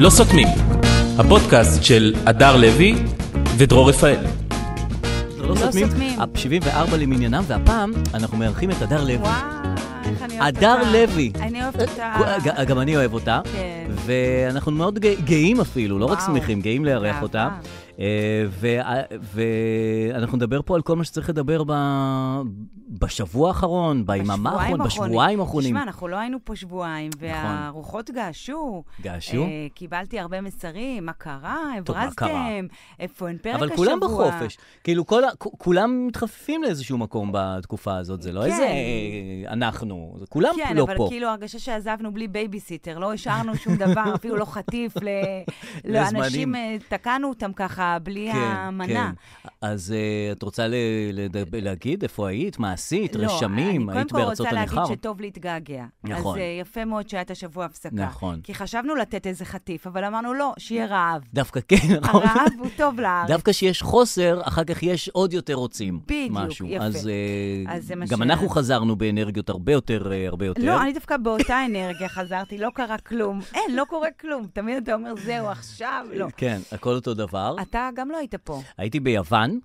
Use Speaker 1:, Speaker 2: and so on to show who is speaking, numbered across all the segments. Speaker 1: לא סותמים, הפודקאסט של הדר לוי ודרור רפאל.
Speaker 2: לא סותמים.
Speaker 3: סותמים.
Speaker 2: אה, 74 למניינם, והפעם אנחנו מארחים את הדר לוי.
Speaker 3: וואו, איך אני אוהבת אותה.
Speaker 2: הדר לוי. אה,
Speaker 3: אני אוהבת אותה.
Speaker 2: ג- גם אני אוהב אותה,
Speaker 3: כן.
Speaker 2: ואנחנו מאוד גא- גאים אפילו, לא רק
Speaker 3: וואו.
Speaker 2: שמחים, גאים לארח
Speaker 3: אהבה.
Speaker 2: אותה. אה, וה- ואנחנו נדבר פה על כל מה שצריך לדבר ב- בשבוע האחרון, ביממה
Speaker 3: בשבועיים
Speaker 2: האחרון,
Speaker 3: האחרונים.
Speaker 2: בשבועיים האחרונים. נכון.
Speaker 3: תשמע, אנחנו לא היינו פה שבועיים, והרוחות געשו.
Speaker 2: געשו?
Speaker 3: אה, קיבלתי הרבה מסרים, מה קרה,
Speaker 2: טוב, מה קרה?
Speaker 3: הברזתם, איפה אין פרק השבוע.
Speaker 2: אבל כולם בחופש. כאילו, כל ה- כ- כולם מתחפפים לאיזשהו מקום בתקופה הזאת, זה לא
Speaker 3: כן.
Speaker 2: איזה אה, אנחנו, זה כולם
Speaker 3: כן,
Speaker 2: לא
Speaker 3: אבל
Speaker 2: פה.
Speaker 3: כאילו הרגשה שעזבנו בלי בייביסיטר, לא השארנו שום דבר, אפילו לא חטיף ל-
Speaker 2: לזמנים.
Speaker 3: לאנשים, אה, תקענו אותם ככה,
Speaker 2: כן,
Speaker 3: בלי המנה.
Speaker 2: אז אה, את רוצה ל- לדב- להגיד איפה היית? מה עשית?
Speaker 3: לא,
Speaker 2: רשמים?
Speaker 3: אני
Speaker 2: היית
Speaker 3: קודם כל
Speaker 2: בארצות
Speaker 3: רוצה להגיד
Speaker 2: הנכר?
Speaker 3: שטוב להתגעגע.
Speaker 2: נכון.
Speaker 3: אז אה, יפה מאוד שהייתה שבוע הפסקה.
Speaker 2: נכון.
Speaker 3: כי חשבנו לתת איזה חטיף, אבל אמרנו לא, שיהיה רעב.
Speaker 2: דווקא כן, נכון?
Speaker 3: הרעב הוא טוב לארץ.
Speaker 2: דווקא כשיש חוסר, אחר כך יש עוד יותר רוצים.
Speaker 3: בדיוק,
Speaker 2: משהו.
Speaker 3: יפה.
Speaker 2: אז, אה,
Speaker 3: אז זה מה
Speaker 2: גם
Speaker 3: ש-
Speaker 2: אנחנו חזרנו באנרגיות הרבה יותר, אה, הרבה יותר.
Speaker 3: לא, אני דווקא באותה אנרגיה חזרתי, לא קרה כלום. אין, לא קורה כלום. תמיד אתה אומר, זהו, עכשיו, לא.
Speaker 2: כן, הכל אותו דבר.
Speaker 3: אתה גם לא היית פה.
Speaker 2: הייתי ביוון,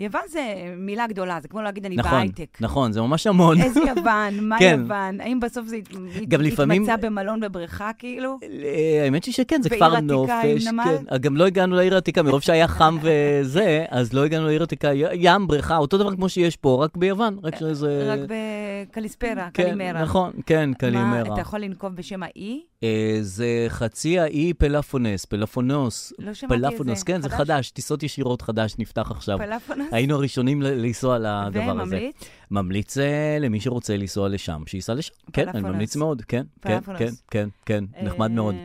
Speaker 3: יוון זה מילה גדולה, זה כמו להגיד אני
Speaker 2: נכון,
Speaker 3: בהייטק.
Speaker 2: נכון, זה ממש המון.
Speaker 3: איזה יוון, מה
Speaker 2: כן.
Speaker 3: יוון? האם בסוף זה הת-
Speaker 2: גם לפעמים-
Speaker 3: התמצא במלון בבריכה, כאילו?
Speaker 2: אה, האמת היא שכן, זה
Speaker 3: בעיר
Speaker 2: כפר
Speaker 3: עתיקה
Speaker 2: נופש.
Speaker 3: עם נמל?
Speaker 2: כן. גם לא הגענו לעיר העתיקה, מרוב שהיה חם וזה, אז לא הגענו לעיר העתיקה. י- ים, בריכה, אותו דבר כמו שיש פה, רק ביוון. רק שזה...
Speaker 3: אה, רק בקליספרה,
Speaker 2: אה, כן,
Speaker 3: קלימרה.
Speaker 2: נכון, כן,
Speaker 3: מה,
Speaker 2: קלימרה.
Speaker 3: אתה יכול לנקוב בשם האי?
Speaker 2: אה, זה חצי האי פלאפונס, פלאפונוס.
Speaker 3: לא שמעתי את זה.
Speaker 2: פלאפונוס, כן, זה
Speaker 3: חדש?
Speaker 2: חדש, טיסות ישירות חדש נפתח עכשיו.
Speaker 3: פלאפונס?
Speaker 2: היינו הראשונים ל- לנסוע לדבר הזה.
Speaker 3: וממליץ?
Speaker 2: ממליץ אה, למי שרוצה לנסוע לשם, שייסע לשם. כן, אני
Speaker 3: פלאפונוס.
Speaker 2: ממליץ מאוד, כן, כן,
Speaker 3: פלאפונוס.
Speaker 2: כן, כן, כן, נחמד מאוד.
Speaker 3: אמ,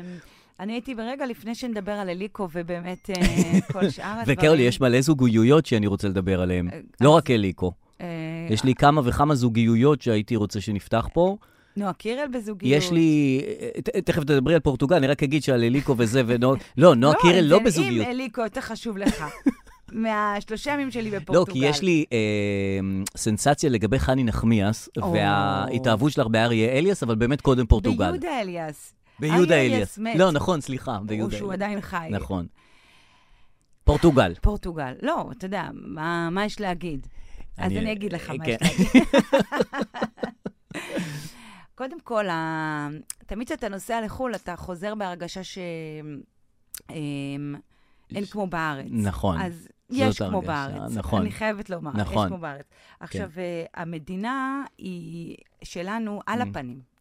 Speaker 3: אני הייתי ברגע לפני שנדבר על אליקו, ובאמת אה, כל שאר הדברים...
Speaker 2: וקרולי, יש מלא זוגיות שאני רוצה לדבר עליהן,
Speaker 3: אה,
Speaker 2: לא
Speaker 3: אז-
Speaker 2: רק אליקו.
Speaker 3: אה,
Speaker 2: יש לי כמה וכמה זוגיות שהייתי רוצה שנפתח פה.
Speaker 3: נועה קירל בזוגיות.
Speaker 2: יש לי... אה, ת- תכף תדברי על פורטוגל, אני רק אגיד שעל אליקו וזה ונועה... לא, נועה קירל לא
Speaker 3: זה-
Speaker 2: בזוגיות.
Speaker 3: אם אליקו יותר חשוב לך, מהשלושה ימים שלי בפורטוגל.
Speaker 2: לא, כי יש לי אה, סנסציה לגבי חני נחמיאס,
Speaker 3: או.
Speaker 2: וההתאהבות שלך באריה אליאס, אבל באמת קודם פורטוגל.
Speaker 3: ביהודה אליאס.
Speaker 2: ביהודה
Speaker 3: אריה
Speaker 2: אליאס.
Speaker 3: מת.
Speaker 2: לא, נכון, סליחה,
Speaker 3: או
Speaker 2: ביהודה
Speaker 3: שהוא
Speaker 2: אליאס.
Speaker 3: עדיין חי.
Speaker 2: נכון. פורטוגל.
Speaker 3: פורטוגל. לא, אתה יודע, מה, מה יש להגיד? אז
Speaker 2: אני-
Speaker 3: אני אגיד לך מה
Speaker 2: כן.
Speaker 3: יש להגיד. קודם כל, ה... תמיד כשאתה נוסע לחו"ל, אתה חוזר בהרגשה ש... אמ, אין כמו בארץ.
Speaker 2: נכון.
Speaker 3: אז יש כמו
Speaker 2: הרגשה,
Speaker 3: בארץ.
Speaker 2: נכון.
Speaker 3: אני חייבת לומר,
Speaker 2: נכון.
Speaker 3: יש כמו בארץ. עכשיו, אה, המדינה היא שלנו על הפנים.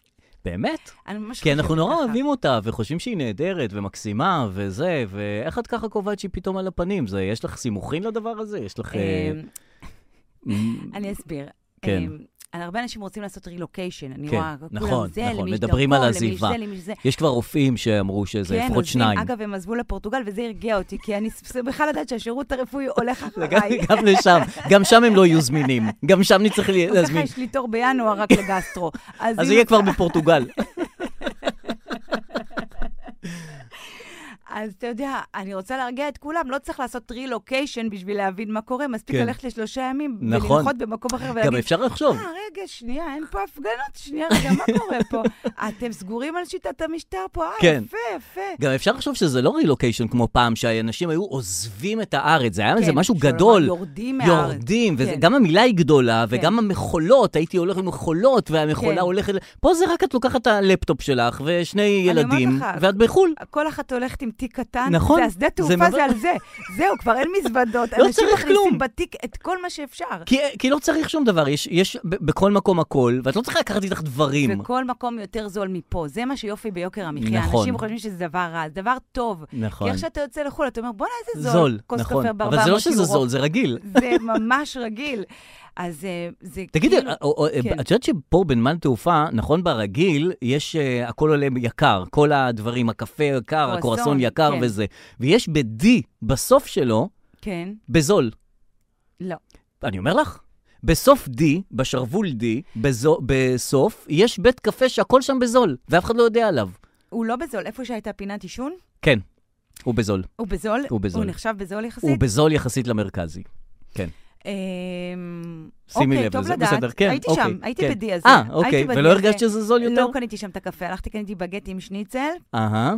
Speaker 2: באמת?
Speaker 3: אני ממש
Speaker 2: Mm. כי אנחנו
Speaker 3: חושבת
Speaker 2: נורא
Speaker 3: ככה.
Speaker 2: אוהבים אותה, וחושבים שהיא נהדרת ומקסימה וזה, ואיך את ככה קובעת שהיא פתאום על הפנים? זה, יש לך סימוכין לדבר הזה? יש לך... אה,
Speaker 3: אמ, אני אסביר.
Speaker 2: כן.
Speaker 3: אמ, הרבה אנשים רוצים לעשות רילוקיישן, אני
Speaker 2: כן,
Speaker 3: רואה,
Speaker 2: נכון,
Speaker 3: כולם זה,
Speaker 2: נכון,
Speaker 3: למי יש
Speaker 2: מדברים על
Speaker 3: דרכון, למי יש
Speaker 2: עזיבה.
Speaker 3: זה, למי יש זה.
Speaker 2: יש כבר רופאים שאמרו שזה
Speaker 3: כן,
Speaker 2: לפחות
Speaker 3: עוזבים.
Speaker 2: שניים.
Speaker 3: אגב, הם עזבו לפורטוגל, וזה הרגיע אותי, כי אני שמחה לדעת שהשירות הרפואי הולך
Speaker 2: גם,
Speaker 3: אחריי.
Speaker 2: גם לשם, גם שם הם לא יהיו זמינים. גם שם נצטרך לי-
Speaker 3: גם ככה
Speaker 2: להזמין.
Speaker 3: יש לי תור בינואר רק לגסטרו.
Speaker 2: אז
Speaker 3: אם-
Speaker 2: יהיה כבר בפורטוגל.
Speaker 3: אז אתה יודע, אני רוצה להרגיע את כולם, לא צריך לעשות רילוקיישן בשביל להבין מה קורה, מספיק
Speaker 2: כן.
Speaker 3: ללכת לשלושה ימים,
Speaker 2: נכון.
Speaker 3: ולנחות במקום אחר
Speaker 2: גם
Speaker 3: ולהגיד,
Speaker 2: אפשר לחשוב.
Speaker 3: אה, רגע, שנייה, אין פה הפגנות, שנייה, רגע, מה קורה פה? אתם סגורים על שיטת המשטר פה? אה,
Speaker 2: כן.
Speaker 3: יפה, יפה.
Speaker 2: גם אפשר לחשוב שזה לא רילוקיישן כמו פעם, שאנשים היו עוזבים את הארץ, זה היה איזה
Speaker 3: כן,
Speaker 2: משהו
Speaker 3: שלא
Speaker 2: גדול.
Speaker 3: יורדים מהארץ.
Speaker 2: יורדים,
Speaker 3: כן.
Speaker 2: וגם המילה היא גדולה, וגם המכולות, הייתי הולך עם מכולות, והמכולה
Speaker 3: כן.
Speaker 2: הולכת... פה זה רק את לוקחת את הלפטופ שלך ושני
Speaker 3: אומרת
Speaker 2: ילדים,
Speaker 3: לך,
Speaker 2: ואת בחו"ל.
Speaker 3: כל אחת הולכת עם תיק קטן,
Speaker 2: נכון,
Speaker 3: זה השדה
Speaker 2: זה
Speaker 3: תעופה,
Speaker 2: ממש-
Speaker 3: זה על זה. זהו, כבר אין מזוודות.
Speaker 2: לא
Speaker 3: אנשים
Speaker 2: צריך כלום.
Speaker 3: מכניסים בתיק את כל מה שאפשר.
Speaker 2: כי, כי לא צריך שום דבר, יש, יש ב- בכל מקום הכל, ואת לא צריכה לקחת איתך דברים.
Speaker 3: וכל מקום יותר זול מפה. זה מה שיופי ביוקר המחיה.
Speaker 2: נכון.
Speaker 3: אנשים חושבים שזה דבר רע, זה דבר טוב.
Speaker 2: נכון.
Speaker 3: כי איך שאתה יוצא לחו"ל, אתה אומר, בואנה, איזה זול.
Speaker 2: זול,
Speaker 3: כוס
Speaker 2: נכון.
Speaker 3: קפה ב-
Speaker 2: אבל זה לא
Speaker 3: 400
Speaker 2: שזה
Speaker 3: יורו."
Speaker 2: זול, זה רגיל.
Speaker 3: זה ממש רגיל. אז אה, זה
Speaker 2: תגידי, אוקיי.
Speaker 3: כאילו...
Speaker 2: או- או-
Speaker 3: כן.
Speaker 2: את יודעת שפה בנמל תעופה, נכון ברגיל, יש, אה, הכל עולה יקר, כל הדברים, הקפה יקר,
Speaker 3: קרואסון,
Speaker 2: הקורסון יקר
Speaker 3: כן.
Speaker 2: וזה. ויש ב-D, בסוף שלו,
Speaker 3: כן,
Speaker 2: בזול.
Speaker 3: לא.
Speaker 2: אני אומר לך, בסוף D, בשרוול D, בזו- בסוף, יש בית קפה שהכל שם בזול, ואף אחד לא יודע עליו.
Speaker 3: הוא לא בזול. איפה שהייתה פינת עישון,
Speaker 2: כן, הוא בזול.
Speaker 3: הוא בזול.
Speaker 2: הוא בזול.
Speaker 3: הוא נחשב בזול יחסית.
Speaker 2: הוא בזול יחסית למרכזי.
Speaker 3: אמ,
Speaker 2: שימי
Speaker 3: אוקיי,
Speaker 2: לב
Speaker 3: טוב
Speaker 2: לזה,
Speaker 3: לדעת.
Speaker 2: בסדר, כן,
Speaker 3: הייתי
Speaker 2: אוקיי,
Speaker 3: שם, הייתי
Speaker 2: כן.
Speaker 3: בדי הזה.
Speaker 2: אה,
Speaker 3: הייתי
Speaker 2: אוקיי,
Speaker 3: בדי
Speaker 2: ולא
Speaker 3: הזה.
Speaker 2: הרגשת שזה זול יותר?
Speaker 3: לא קניתי שם את הקפה, הלכתי, קניתי בגט עם שניצל,
Speaker 2: אהה.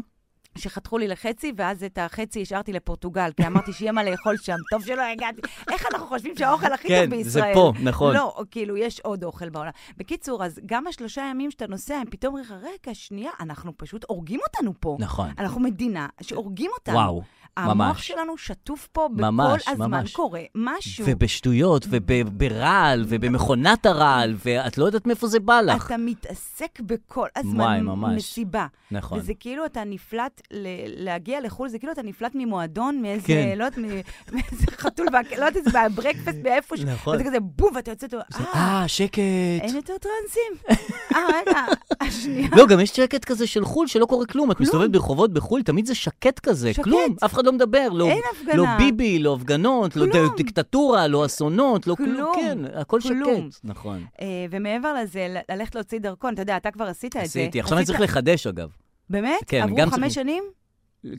Speaker 3: שחתכו לי לחצי, ואז את החצי השארתי לפורטוגל, כי אמרתי שיהיה מה לאכול שם, טוב שלא הגעתי. איך אנחנו חושבים שהאוכל הכי
Speaker 2: כן,
Speaker 3: טוב
Speaker 2: זה
Speaker 3: בישראל?
Speaker 2: פה, נכון.
Speaker 3: לא, כאילו, יש עוד אוכל בעולם. בקיצור, אז גם השלושה ימים שאתה נוסע, הם פתאום אומרים לך, רגע, שנייה, אנחנו פשוט הורגים אותנו פה.
Speaker 2: נכון.
Speaker 3: אנחנו מדינה שהורגים אותנו.
Speaker 2: וואו.
Speaker 3: המוח
Speaker 2: ממש.
Speaker 3: שלנו שטוף פה, בכל
Speaker 2: ממש,
Speaker 3: הזמן
Speaker 2: ממש.
Speaker 3: קורה משהו.
Speaker 2: ובשטויות,
Speaker 3: Mm.
Speaker 2: וברעל, ובמכונת הרעל, ואת לא יודעת מאיפה זה בא לך.
Speaker 3: אתה מתעסק בכל
Speaker 2: וואי,
Speaker 3: הזמן
Speaker 2: ממש.
Speaker 3: מסיבה.
Speaker 2: נכון.
Speaker 3: וזה כאילו אתה נפלט, ל- להגיע לחו"ל, זה כאילו אתה נפלט ממועדון, מאיזה,
Speaker 2: כן.
Speaker 3: לא יודעת, מ- מאיזה חתול, בק- לא יודעת, איזה ברקפסט, מאיפה ש...
Speaker 2: נכון.
Speaker 3: וזה כזה בום, ואתה יוצא, ואתה, אה,
Speaker 2: אה, שקט.
Speaker 3: אין יותר טרנסים. אה, רגע, השנייה.
Speaker 2: לא, גם יש שקט כזה של חו"ל שלא קורה כלום. את מסתובבת ברחובות בחו"ל, תמיד זה שקט כזה,
Speaker 3: שקט.
Speaker 2: כלום. אף אחד לא מדבר. לא-
Speaker 3: אין הפגנה.
Speaker 2: לא ביבי, לא הפגנות, לא
Speaker 3: כלום.
Speaker 2: דיקטטורה, לא אסונות, לא כלום.
Speaker 3: כלום.
Speaker 2: כן, הכל
Speaker 3: כלום.
Speaker 2: שקט. נכון.
Speaker 3: אה, ומעבר לזה, ל- ללכת להוציא דרכון, אתה יודע, אתה כבר עשית את זה.
Speaker 2: עשיתי. עכשיו אני
Speaker 3: עשית-
Speaker 2: צריך לחדש, אגב.
Speaker 3: באמת?
Speaker 2: כן,
Speaker 3: עברו
Speaker 2: גם
Speaker 3: חמש
Speaker 2: צריך-
Speaker 3: שנים?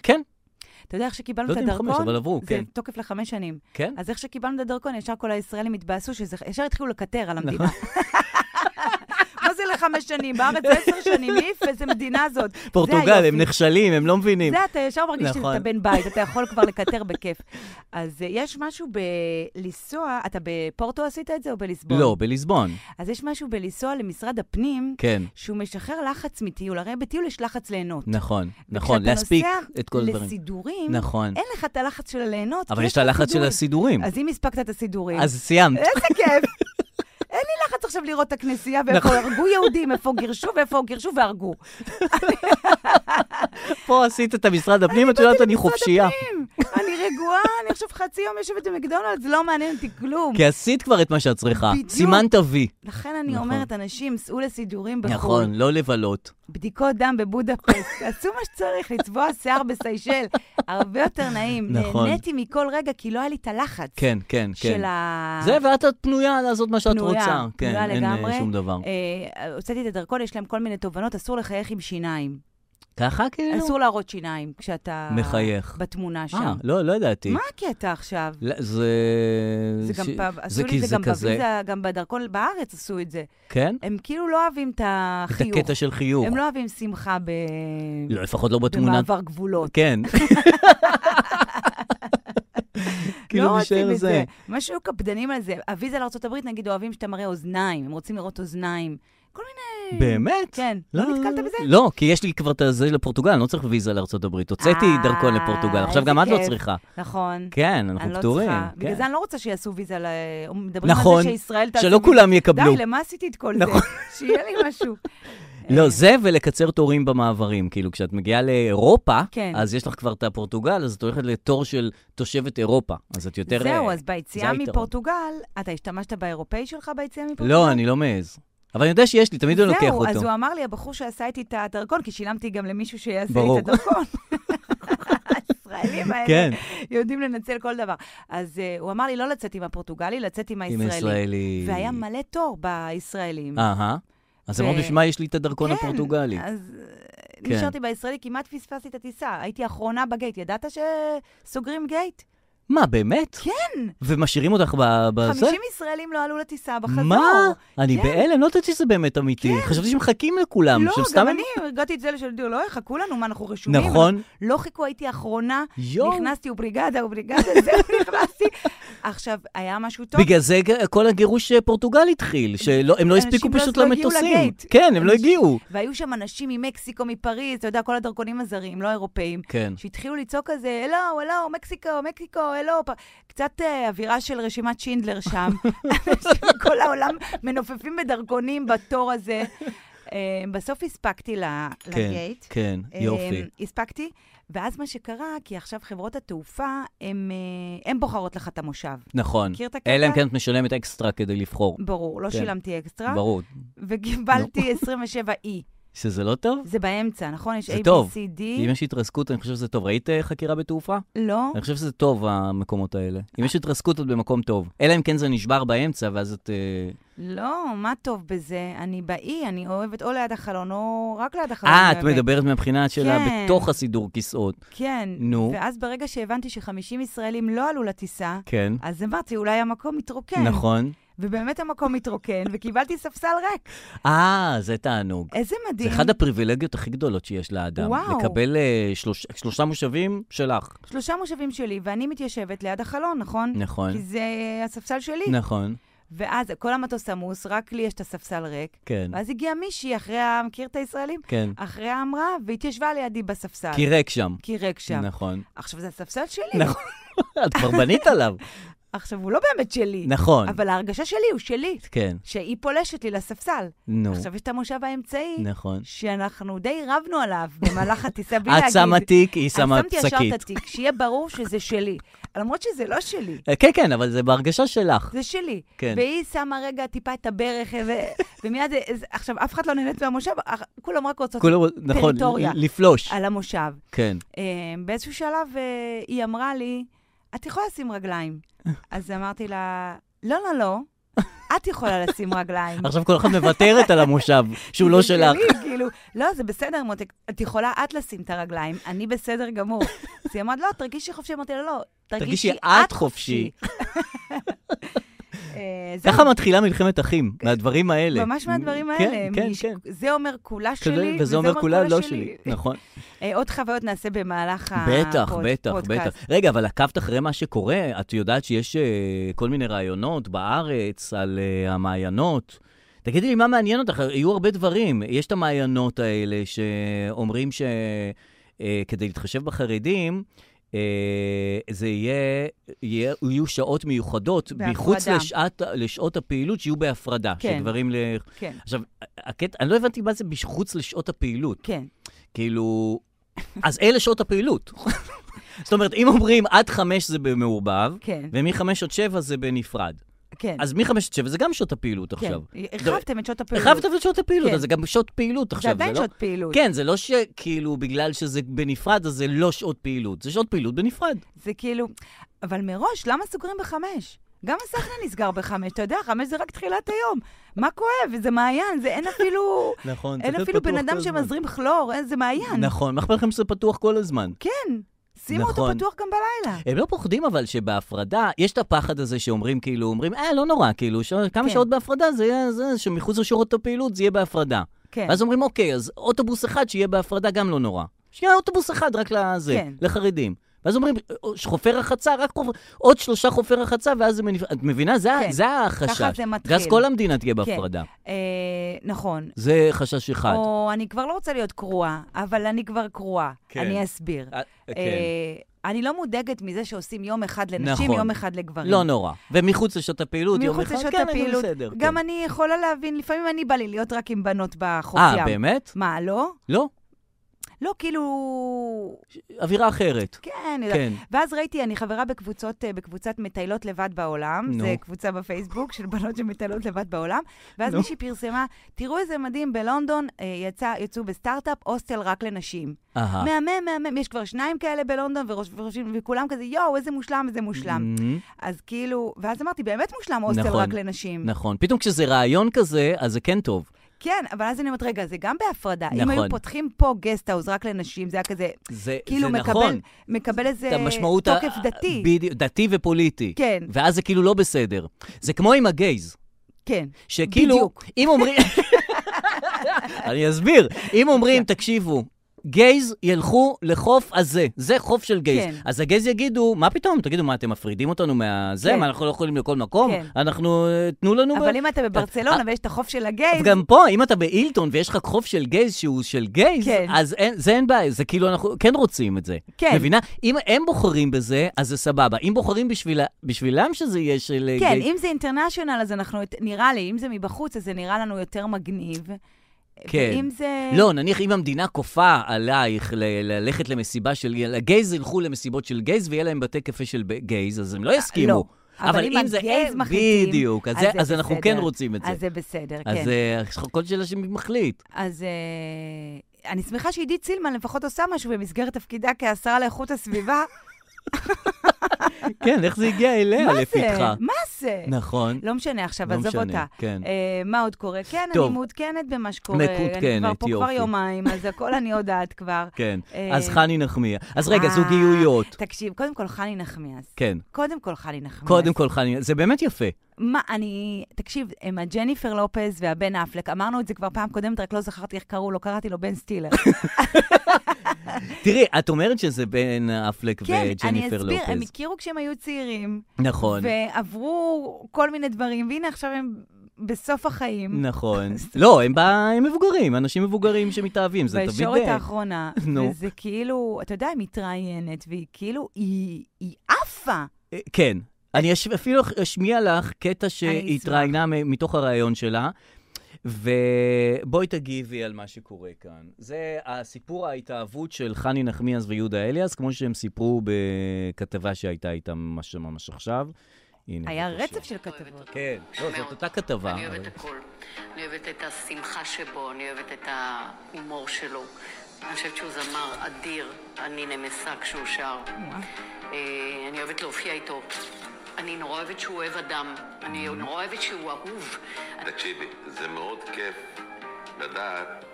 Speaker 2: כן,
Speaker 3: אתה יודע איך שקיבלנו
Speaker 2: לא
Speaker 3: את
Speaker 2: יודע אם
Speaker 3: הדרכון?
Speaker 2: חמש, אבל עברו,
Speaker 3: זה
Speaker 2: כן.
Speaker 3: תוקף לחמש שנים.
Speaker 2: כן.
Speaker 3: אז איך שקיבלנו את הדרכון, ישר כל הישראלים התבאסו, שזה- ישר התחילו לקטר על המדינה.
Speaker 2: נכון.
Speaker 3: מה זה לחמש שנים? בארץ זה עשר שנים, איף, איזה מדינה זאת. זה
Speaker 2: פורטוגל,
Speaker 3: היופי.
Speaker 2: הם נכשלים, הם לא מבינים.
Speaker 3: זה אתה ישר מרגיש
Speaker 2: נכון.
Speaker 3: שאתה בן בית, אתה יכול כבר לקטר בכיף. אז אה, יש משהו בלנסוע, אתה בפורטו עשית את זה או בליסבון?
Speaker 2: לא, בליסבון.
Speaker 3: אז יש משהו בלנסוע למשרד הפנים,
Speaker 2: כן.
Speaker 3: שהוא משחרר לחץ מטיול. הרי בטיול יש לחץ ליהנות.
Speaker 2: נכון, נכון, להספיק את כל
Speaker 3: וכשאתה נוסע
Speaker 2: הדברים.
Speaker 3: לסידורים,
Speaker 2: נכון.
Speaker 3: אין לך את הלחץ של הליהנות,
Speaker 2: אבל
Speaker 3: כי
Speaker 2: יש את הלחץ של
Speaker 3: סידורים.
Speaker 2: הסידורים.
Speaker 3: אז אם הספקת את הסידורים,
Speaker 2: אז סיימת.
Speaker 3: איזה כיף. אין לי לחץ עכשיו לראות את הכנסייה ואיפה
Speaker 2: נכון.
Speaker 3: הרגו יהודים, איפה גירשו ואיפה גירשו והרגו.
Speaker 2: פה עשית את המשרד הפנים, את יודעת, אני חופשייה.
Speaker 3: אני רגועה, אני עכשיו חצי יום יושבת במקדונלדס, לא מעניין אותי כלום.
Speaker 2: כי עשית כבר את מה שאת צריכה.
Speaker 3: בדיוק.
Speaker 2: סימנת וי.
Speaker 3: לכן אני
Speaker 2: נכון.
Speaker 3: אומרת, אנשים, סעו לסידורים בחו"ל,
Speaker 2: נכון, לא לבלות.
Speaker 3: בדיקות דם בבודפסט, תעשו מה שצריך, לצבוע שיער בסיישל, הרבה יותר נעים.
Speaker 2: נכון.
Speaker 3: נהניתי מכל רגע, כי לא היה לי את הלחץ
Speaker 2: כן, כן, כן.
Speaker 3: של ה...
Speaker 2: זה, ואת את פנויה לעשות מה שאת
Speaker 3: פנויה,
Speaker 2: רוצה. כן,
Speaker 3: פנויה
Speaker 2: אין אה,
Speaker 3: לגמרי.
Speaker 2: שום דבר.
Speaker 3: אה, הוצאתי את הדרכון, יש להם כל מיני תובנות, אסור לחייך עם שיניים.
Speaker 2: ככה כאילו?
Speaker 3: אסור להראות שיניים כשאתה...
Speaker 2: מחייך.
Speaker 3: בתמונה שם.
Speaker 2: אה, לא, לא ידעתי.
Speaker 3: מה הקטע עכשיו?
Speaker 2: לא, זה...
Speaker 3: זה גם
Speaker 2: ש-
Speaker 3: פעם, עשו
Speaker 2: כי
Speaker 3: לי את זה גם
Speaker 2: כזה-
Speaker 3: בוויזה, גם בדרכון בארץ עשו את זה.
Speaker 2: כן?
Speaker 3: הם כאילו לא אוהבים
Speaker 2: את
Speaker 3: את החיוך.
Speaker 2: הקטע של חיוך.
Speaker 3: הם לא אוהבים שמחה ב...
Speaker 2: לא, לפחות לא בתמונה.
Speaker 3: במעבר גבולות.
Speaker 2: כן. כאילו
Speaker 3: לא רוצים
Speaker 2: נשאר
Speaker 3: את
Speaker 2: זה.
Speaker 3: זה. משהו קפדנים על זה. הוויזה לארה"ב, נגיד, אוהבים שאתה מראה אוזניים, הם רוצים לראות אוזניים. כל מיני...
Speaker 2: באמת?
Speaker 3: כן. לא נתקלת בזה?
Speaker 2: לא, כי יש לי כבר את זה לפורטוגל, אני לא צריך ויזה לארצות הברית. הוצאתי
Speaker 3: אה,
Speaker 2: דרכון לפורטוגל, עכשיו
Speaker 3: איזה
Speaker 2: גם את לא
Speaker 3: כיף.
Speaker 2: צריכה.
Speaker 3: נכון.
Speaker 2: כן,
Speaker 3: אני
Speaker 2: אנחנו
Speaker 3: לא
Speaker 2: פטורים.
Speaker 3: צריכה. בגלל
Speaker 2: כן.
Speaker 3: זה אני לא רוצה שיעשו ויזה ל... מדברים על
Speaker 2: נכון,
Speaker 3: זה שישראל תעשה...
Speaker 2: שלא
Speaker 3: ויזה.
Speaker 2: כולם יקבלו.
Speaker 3: די, למה עשיתי את כל
Speaker 2: נכון.
Speaker 3: זה? שיהיה לי משהו.
Speaker 2: לא, זה ולקצר תורים במעברים. כאילו, כשאת מגיעה לאירופה,
Speaker 3: כן.
Speaker 2: אז יש לך כבר את הפורטוגל, אז את הולכת לתור של תושבת אירופה. אז את יותר...
Speaker 3: זהו,
Speaker 2: אה,
Speaker 3: אז ביציאה
Speaker 2: זה היתרון.
Speaker 3: מפורטוגל, אתה השתמשת באירופאי שלך ביציאה מפורטוגל?
Speaker 2: לא, אני לא מעז. אבל אני יודע שיש לי, תמיד אני לא לוקח
Speaker 3: זהו, אז
Speaker 2: אותו.
Speaker 3: הוא אמר לי, הבחור שעשה איתי את הדרכון, כי שילמתי גם למישהו שיעשה
Speaker 2: ברור.
Speaker 3: לי את הדרכון. הישראלים האלה
Speaker 2: כן.
Speaker 3: יודעים לנצל כל דבר. אז uh, הוא אמר לי לא לצאת עם הפורטוגלי, לצאת עם
Speaker 2: עם
Speaker 3: הישראלי.
Speaker 2: הישראלי.
Speaker 3: והיה מלא תור בישראלים.
Speaker 2: אהה. אז
Speaker 3: ו-
Speaker 2: אמרת, בשביל מה יש לי את הדרכון
Speaker 3: כן,
Speaker 2: נכון, הפורטוגלי?
Speaker 3: אז אה,
Speaker 2: כן.
Speaker 3: נשארתי בישראלי, כמעט פספסתי את הטיסה. הייתי אחרונה בגייט. ידעת שסוגרים גייט?
Speaker 2: מה, באמת?
Speaker 3: כן.
Speaker 2: ומשאירים אותך ב- בזה?
Speaker 3: 50 ישראלים לא עלו לטיסה בחזור.
Speaker 2: מה? אני
Speaker 3: כן.
Speaker 2: בהלם, לא ידעתי שזה באמת אמיתי. חשבתי שמחכים לכולם.
Speaker 3: לא,
Speaker 2: שהם סתם
Speaker 3: גם
Speaker 2: הם-
Speaker 3: אני הרגעתי את זה לשלדיו, לא יחכו לנו, מה, אנחנו רשומים?
Speaker 2: נכון.
Speaker 3: לא חיכו, הייתי אחרונה.
Speaker 2: יואו.
Speaker 3: נכנסתי, אובריגדה, אובריגדה, זהו, נכנסתי. עכשיו, היה משהו טוב.
Speaker 2: בגלל זה ג- כל הגירוש אה, פורטוגל התחיל, שהם לא
Speaker 3: אנשים
Speaker 2: הספיקו
Speaker 3: לא-
Speaker 2: פשוט
Speaker 3: לא הגיעו
Speaker 2: למטוסים.
Speaker 3: לגייט.
Speaker 2: כן, הם לא
Speaker 3: אנשים-
Speaker 2: הגיעו.
Speaker 3: והיו שם אנשים ממקסיקו, מפריז, אתה יודע, כל הדרכונים הזרים, לא האירופאים.
Speaker 2: כן.
Speaker 3: שהתחילו לצעוק כזה, הלו, הלו, מקסיקו, מקסיקו, הלו. פ... קצת אה, אווירה של רשימת שינדלר שם. אנשים מכל העולם מנופפים בדרכונים בתור הזה. אה, בסוף הספקתי ל-
Speaker 2: כן,
Speaker 3: לגייט.
Speaker 2: כן, יופי.
Speaker 3: אמ, הספקתי, ואז מה שקרה, כי עכשיו חברות התעופה, הן בוחרות לך את המושב.
Speaker 2: נכון.
Speaker 3: מכיר את הקטע?
Speaker 2: אלא אם כן את משלמת אקסטרה כדי לבחור.
Speaker 3: ברור, לא
Speaker 2: כן. לא.
Speaker 3: שילמתי אקסטרה,
Speaker 2: ברור.
Speaker 3: וקיבלתי 27 אי.
Speaker 2: שזה לא טוב?
Speaker 3: זה באמצע, נכון? יש
Speaker 2: זה
Speaker 3: A, B,
Speaker 2: טוב.
Speaker 3: C, D.
Speaker 2: אם יש התרסקות, אני חושב שזה טוב. ראית אה, חקירה בתעופה?
Speaker 3: לא.
Speaker 2: אני חושב שזה טוב, המקומות האלה. אם יש התרסקות, את במקום טוב. אלא אם כן זה נשבר באמצע, ואז את... אה,
Speaker 3: לא, מה טוב בזה? אני באי, אני אוהבת או ליד החלון או רק ליד החלון.
Speaker 2: אה,
Speaker 3: אני
Speaker 2: את
Speaker 3: אוהבת.
Speaker 2: מדברת מהבחינה של ה-
Speaker 3: כן.
Speaker 2: בתוך הסידור כיסאות.
Speaker 3: כן.
Speaker 2: נו.
Speaker 3: ואז ברגע שהבנתי ש-50 ישראלים לא עלו לטיסה,
Speaker 2: כן.
Speaker 3: אז אמרתי, אולי המקום מתרוקן.
Speaker 2: נכון.
Speaker 3: ובאמת המקום מתרוקן, וקיבלתי ספסל ריק.
Speaker 2: אה, זה תענוג.
Speaker 3: איזה
Speaker 2: זה
Speaker 3: מדהים.
Speaker 2: אחת הפריבילגיות הכי גדולות שיש לאדם.
Speaker 3: וואו.
Speaker 2: לקבל אה, שלוש- שלושה מושבים שלך.
Speaker 3: שלושה מושבים שלי, ואני מתיישבת ליד החלון, נכון?
Speaker 2: נכון.
Speaker 3: כי זה הספסל שלי.
Speaker 2: נכון,
Speaker 3: ואז כל המטוס עמוס, רק לי יש את הספסל ריק.
Speaker 2: כן,
Speaker 3: ואז הגיעה מישהי אחרי ה... מכיר את הישראלים?
Speaker 2: כן.
Speaker 3: אחרי האמרה, והתיישבה לידי בספסל.
Speaker 2: כי ריק שם.
Speaker 3: כי ריק שם.
Speaker 2: נכון.
Speaker 3: עכשיו, זה הספסל שלי.
Speaker 2: נכון. את כבר בנית עליו.
Speaker 3: עכשיו, הוא לא באמת שלי.
Speaker 2: נכון.
Speaker 3: אבל ההרגשה שלי הוא שלי,
Speaker 2: כן,
Speaker 3: שהיא פולשת לי לספסל.
Speaker 2: נו,
Speaker 3: עכשיו, יש את המושב האמצעי,
Speaker 2: נכון.
Speaker 3: שאנחנו די רבנו עליו במהלך הטיסה, בלי להגיד.
Speaker 2: את שמה תיק, היא שמה
Speaker 3: אני שמתי ישר את
Speaker 2: שקית.
Speaker 3: התיק, שיהיה ברור שזה שלי. למרות שזה לא שלי,
Speaker 2: אה, כן, כן, אבל זה בהרגשה שלך.
Speaker 3: זה שלי.
Speaker 2: כן.
Speaker 3: והיא שמה רגע טיפה את הברך, איזה- ומיד, איזה- עכשיו, אף אחד לא נהנית מהמושב, אך- כולם רק רוצות
Speaker 2: כולו, נכון,
Speaker 3: טריטוריה.
Speaker 2: ל- לפלוש.
Speaker 3: על המושב.
Speaker 2: כן.
Speaker 3: אה, באיזשהו שלב אה, היא אמרה לי, את יכולה לשים רגליים. אז אמרתי לה, לא, לא, לא, את יכולה לשים רגליים.
Speaker 2: עכשיו כל אחת מוותרת על המושב, שהוא לא
Speaker 3: זה שלי,
Speaker 2: שלך.
Speaker 3: כאילו, לא, זה בסדר, מותק, את יכולה את לשים את הרגליים, אני בסדר גמור. אז היא אמרת, לא, תרגישי חופשי. אמרתי לה, לא, תרגישי את חופשי. אה, זהו,
Speaker 2: ככה מתחילה מלחמת אחים, מהדברים האלה.
Speaker 3: כן. ממש מהדברים
Speaker 2: כן,
Speaker 3: האלה.
Speaker 2: כן,
Speaker 3: מיש-
Speaker 2: כן.
Speaker 3: זה אומר כולה
Speaker 2: כזה,
Speaker 3: שלי,
Speaker 2: וזה אומר כולה לא שלי. נכון.
Speaker 3: אה, עוד חוויות נעשה במהלך הפודקאסט.
Speaker 2: בטח, בטח, בטח. רגע, אבל עקבת אחרי מה שקורה? את יודעת שיש אה, כל מיני רעיונות בארץ על אה, המעיינות. תגידי לי, מה מעניין אותך? יהיו הרבה דברים. יש את המעיינות האלה שאומרים שכדי להתחשב בחרדים, אה, זה יהיה, יהיה, יהיו שעות מיוחדות,
Speaker 3: בהפרדה.
Speaker 2: מחוץ לשעת, לשעות הפעילות, שיהיו בהפרדה.
Speaker 3: כן.
Speaker 2: שגברים ל...
Speaker 3: כן,
Speaker 2: עכשיו, הקטע, אני לא הבנתי מה זה מחוץ לשעות הפעילות.
Speaker 3: כן.
Speaker 2: כאילו, אז אלה שעות הפעילות. זאת אומרת, אם אומרים עד חמש זה במעורבב,
Speaker 3: כן,
Speaker 2: ומחמש עד שבע זה בנפרד.
Speaker 3: כן.
Speaker 2: אז מחמש עד שבע זה גם שעות הפעילות
Speaker 3: כן.
Speaker 2: עכשיו.
Speaker 3: הרחבתם את שעות הפעילות.
Speaker 2: הרחבת את שעות הפעילות,
Speaker 3: כן.
Speaker 2: אז זה גם שעות פעילות
Speaker 3: זה
Speaker 2: עכשיו,
Speaker 3: עדיין
Speaker 2: לא...
Speaker 3: שעות פעילות.
Speaker 2: כן, זה לא שכאילו בגלל שזה בנפרד, אז זה לא שעות פעילות, זה שעות פעילות בנפרד.
Speaker 3: זה כאילו... אבל מראש, למה סוגרים בחמש? גם הסחנה נסגר בחמש, אתה יודע, חמש זה רק תחילת היום. מה כואב? זה מעיין, זה אין אפילו...
Speaker 2: נכון.
Speaker 3: אין אפילו בן אדם שמזרים כלור, אין- זה מעיין.
Speaker 2: נכון, מה אכפת לכם שזה פתוח כל הזמן?
Speaker 3: כן, שימו אותו
Speaker 2: נכון.
Speaker 3: פתוח גם בלילה.
Speaker 2: הם לא פוחדים אבל שבהפרדה, יש את הפחד הזה שאומרים כאילו, אומרים, אה, לא נורא, כאילו, ש... כמה
Speaker 3: כן.
Speaker 2: שעות בהפרדה זה יהיה, זה, שמחוץ לשורות הפעילות זה יהיה בהפרדה.
Speaker 3: כן,
Speaker 2: ואז אומרים, אוקיי, אז אוטובוס אחד שיהיה בהפרדה גם לא נורא. שיהיה אוטובוס אחד רק לזה,
Speaker 3: כן.
Speaker 2: לחרדים. ואז אומרים, חופי רחצה, רק חופ... עוד שלושה חופי רחצה, ואז זה מנפ... את מבינה? זה,
Speaker 3: כן.
Speaker 2: כן. זה החשש.
Speaker 3: ככה זה מתחיל. כן.
Speaker 2: ואז כל המדינה תהיה בהפרדה.
Speaker 3: אה, נכון.
Speaker 2: זה חשש אחד.
Speaker 3: או אני כבר לא רוצה להיות קרועה, אבל אני כבר קרועה.
Speaker 2: כן.
Speaker 3: אני אסביר.
Speaker 2: אה, כן.
Speaker 3: אה, אני לא מודאגת מזה שעושים יום אחד לנשים,
Speaker 2: נכון.
Speaker 3: יום אחד לגברים.
Speaker 2: לא נורא. ומחוץ לשעות הפעילות, יום
Speaker 3: מחוץ
Speaker 2: אחד,
Speaker 3: לשעות
Speaker 2: כן, אני
Speaker 3: הפעילות.
Speaker 2: בסדר.
Speaker 3: גם
Speaker 2: כן.
Speaker 3: אני יכולה להבין, לפעמים אני בא לי להיות רק עם בנות בחוף ים.
Speaker 2: אה, באמת?
Speaker 3: מה, לא?
Speaker 2: לא.
Speaker 3: לא, כאילו...
Speaker 2: אווירה אחרת.
Speaker 3: כן, כן.
Speaker 2: כן.
Speaker 3: ואז ראיתי, אני חברה בקבוצות, אה, בקבוצת מטיילות לבד בעולם,
Speaker 2: נו.
Speaker 3: זו קבוצה בפייסבוק של בנות שמטיילות לבד בעולם, ואז
Speaker 2: נו.
Speaker 3: מישהי פרסמה, תראו איזה מדהים, בלונדון אה, יצא, יצאו בסטארט-אפ הוסטל רק לנשים.
Speaker 2: אהה.
Speaker 3: מהמם, מהמם, יש כבר שניים כאלה בלונדון, וראש- וראשים- וכולם כזה, יואו, איזה מושלם, איזה מושלם.
Speaker 2: מהמם.
Speaker 3: אז כאילו, ואז אמרתי, באמת מושלם הוסטל
Speaker 2: נכון.
Speaker 3: רק לנשים.
Speaker 2: נכון. פתאום כשזה רעיון כזה, אז זה כן טוב.
Speaker 3: כן, אבל אז אני אומרת, רגע, זה גם בהפרדה. אם
Speaker 2: נכון.
Speaker 3: היו פותחים פה גסטהאוז רק לנשים, זה היה כזה,
Speaker 2: זה
Speaker 3: כאילו
Speaker 2: זה
Speaker 3: מקבל,
Speaker 2: נכון.
Speaker 3: מקבל איזה
Speaker 2: את המשמעות... ה-
Speaker 3: תוקף דתי.
Speaker 2: בדיוק, דתי ופוליטי.
Speaker 3: כן,
Speaker 2: ואז זה כאילו לא בסדר. זה כמו עם הגייז.
Speaker 3: כן,
Speaker 2: שכאילו,
Speaker 3: בדיוק.
Speaker 2: אם אומרים... אני אסביר. אם אומרים, תקשיבו, גייז ילכו לחוף הזה, זה חוף של גייז.
Speaker 3: כן.
Speaker 2: אז הגייז יגידו, מה פתאום? תגידו, מה, אתם מפרידים אותנו מהזה?
Speaker 3: כן.
Speaker 2: מה, אנחנו לא יכולים לכל מקום?
Speaker 3: כן.
Speaker 2: אנחנו, אה, תנו לנו... ב- אה,
Speaker 3: אבל אם אתה בברצלונה ויש את החוף של הגייז,
Speaker 2: אז גם פה, אם אתה באילטון ויש לך חוף של גייז שהוא של גייז,
Speaker 3: כן.
Speaker 2: אז אין, זה אין בעיה, זה כאילו אנחנו כן רוצים את זה.
Speaker 3: כן.
Speaker 2: מבינה? אם הם בוחרים בזה, אז זה סבבה. אם בוחרים בשבילה, בשבילם שזה יהיה של אה,
Speaker 3: כן,
Speaker 2: גייז...
Speaker 3: אם זה אינטרנשיונל, אז אנחנו, נראה לי, אם זה מבחוץ, אז זה נראה לנו יותר מגניב.
Speaker 2: כן.
Speaker 3: ואם זה...
Speaker 2: לא, נניח אם המדינה כופה עלייך ל- ללכת למסיבה של גייז, הגייז ילכו למסיבות של גייז ויהיה להם בתי קפה של ב- גייז, אז הם לא יסכימו.
Speaker 3: לא.
Speaker 2: אבל אם זה
Speaker 3: הגייז
Speaker 2: אין-
Speaker 3: מחליטים,
Speaker 2: בדיוק, אז
Speaker 3: אז
Speaker 2: זה-
Speaker 3: זה
Speaker 2: אז אנחנו
Speaker 3: בסדר.
Speaker 2: כן רוצים את זה.
Speaker 3: אז זה בסדר, כן.
Speaker 2: אז אה, כל שאלה שמחליט.
Speaker 3: אז אה, אני שמחה שעידית סילמן לפחות עושה משהו במסגרת תפקידה כשרה לאיכות הסביבה.
Speaker 2: כן, איך זה הגיע אליה
Speaker 3: מה זה?
Speaker 2: לפתחה?
Speaker 3: מה זה?
Speaker 2: נכון.
Speaker 3: לא משנה עכשיו,
Speaker 2: לא
Speaker 3: עזוב
Speaker 2: משנה,
Speaker 3: אותה.
Speaker 2: כן.
Speaker 3: אה, מה עוד קורה? כן,
Speaker 2: טוב.
Speaker 3: אני מעודכנת במה שקורה. אני כבר
Speaker 2: מעודכנת,
Speaker 3: פה כבר
Speaker 2: יופי.
Speaker 3: יומיים, אז הכל אני יודעת כבר.
Speaker 2: כן.
Speaker 3: אה,
Speaker 2: אז חני נחמיה. אז רגע,
Speaker 3: אה,
Speaker 2: זוגיות.
Speaker 3: תקשיב, קודם כל חני נחמיאס.
Speaker 2: כן.
Speaker 3: קודם כל חני נחמיאס.
Speaker 2: קודם כל חני, זה באמת יפה.
Speaker 3: מה, אני... תקשיב, הם הג'ניפר לופז והבן אפלק, אמרנו את זה כבר פעם קודמת, רק לא זכרתי איך קראו לו, קראתי לו בן סטילר.
Speaker 2: תראי, את אומרת שזה בין אפלק
Speaker 3: כן, אני
Speaker 2: וג'ניפר
Speaker 3: אסביר, הם
Speaker 2: לופז.
Speaker 3: הכירו כשהם היו צעירים,
Speaker 2: נכון,
Speaker 3: ועברו כל מיני דברים, והנה עכשיו הם בסוף החיים,
Speaker 2: נכון. לא, הם בא- הם מבוגרים, אנשים מבוגרים שמתאהבים, זה תמיד...
Speaker 3: בישורת
Speaker 2: אה,
Speaker 3: האחרונה,
Speaker 2: נו.
Speaker 3: וזה כאילו, אתה יודע, היא מתראיינת, והיא כאילו, היא היא עפה.
Speaker 2: אה, כן. אני אש- אפילו אשמיע לך קטע
Speaker 3: אני אשמח.
Speaker 2: שהתראיינה מ- מתוך הריאיון שלה, ובואי תגיבי על מה שקורה כאן. זה הסיפור ההתאהבות של חני נחמיאס ויהודה אליאס, כמו שהם סיפרו בכתבה שהייתה איתם ממש ממש עכשיו. הנה,
Speaker 3: היה
Speaker 2: כן, בבקשה.
Speaker 3: רצף של כתבות.
Speaker 2: כן, לא, זאת
Speaker 4: מאוד.
Speaker 2: אותה כתבה.
Speaker 4: אני
Speaker 2: אבל-
Speaker 4: אוהבת הכל. אני אוהבת את השמחה שבו, אני אוהבת את ההומור שלו. אני חושבת שהוא זמר אדיר, אני נמסה כשהוא שר. אה, אני אוהבת להופיע איתו. אני נורא אוהבת שהוא אוהב אדם. אני נורא אוהבת שהוא אהוב.
Speaker 5: תקשיבי, זה מאוד כיף לדעת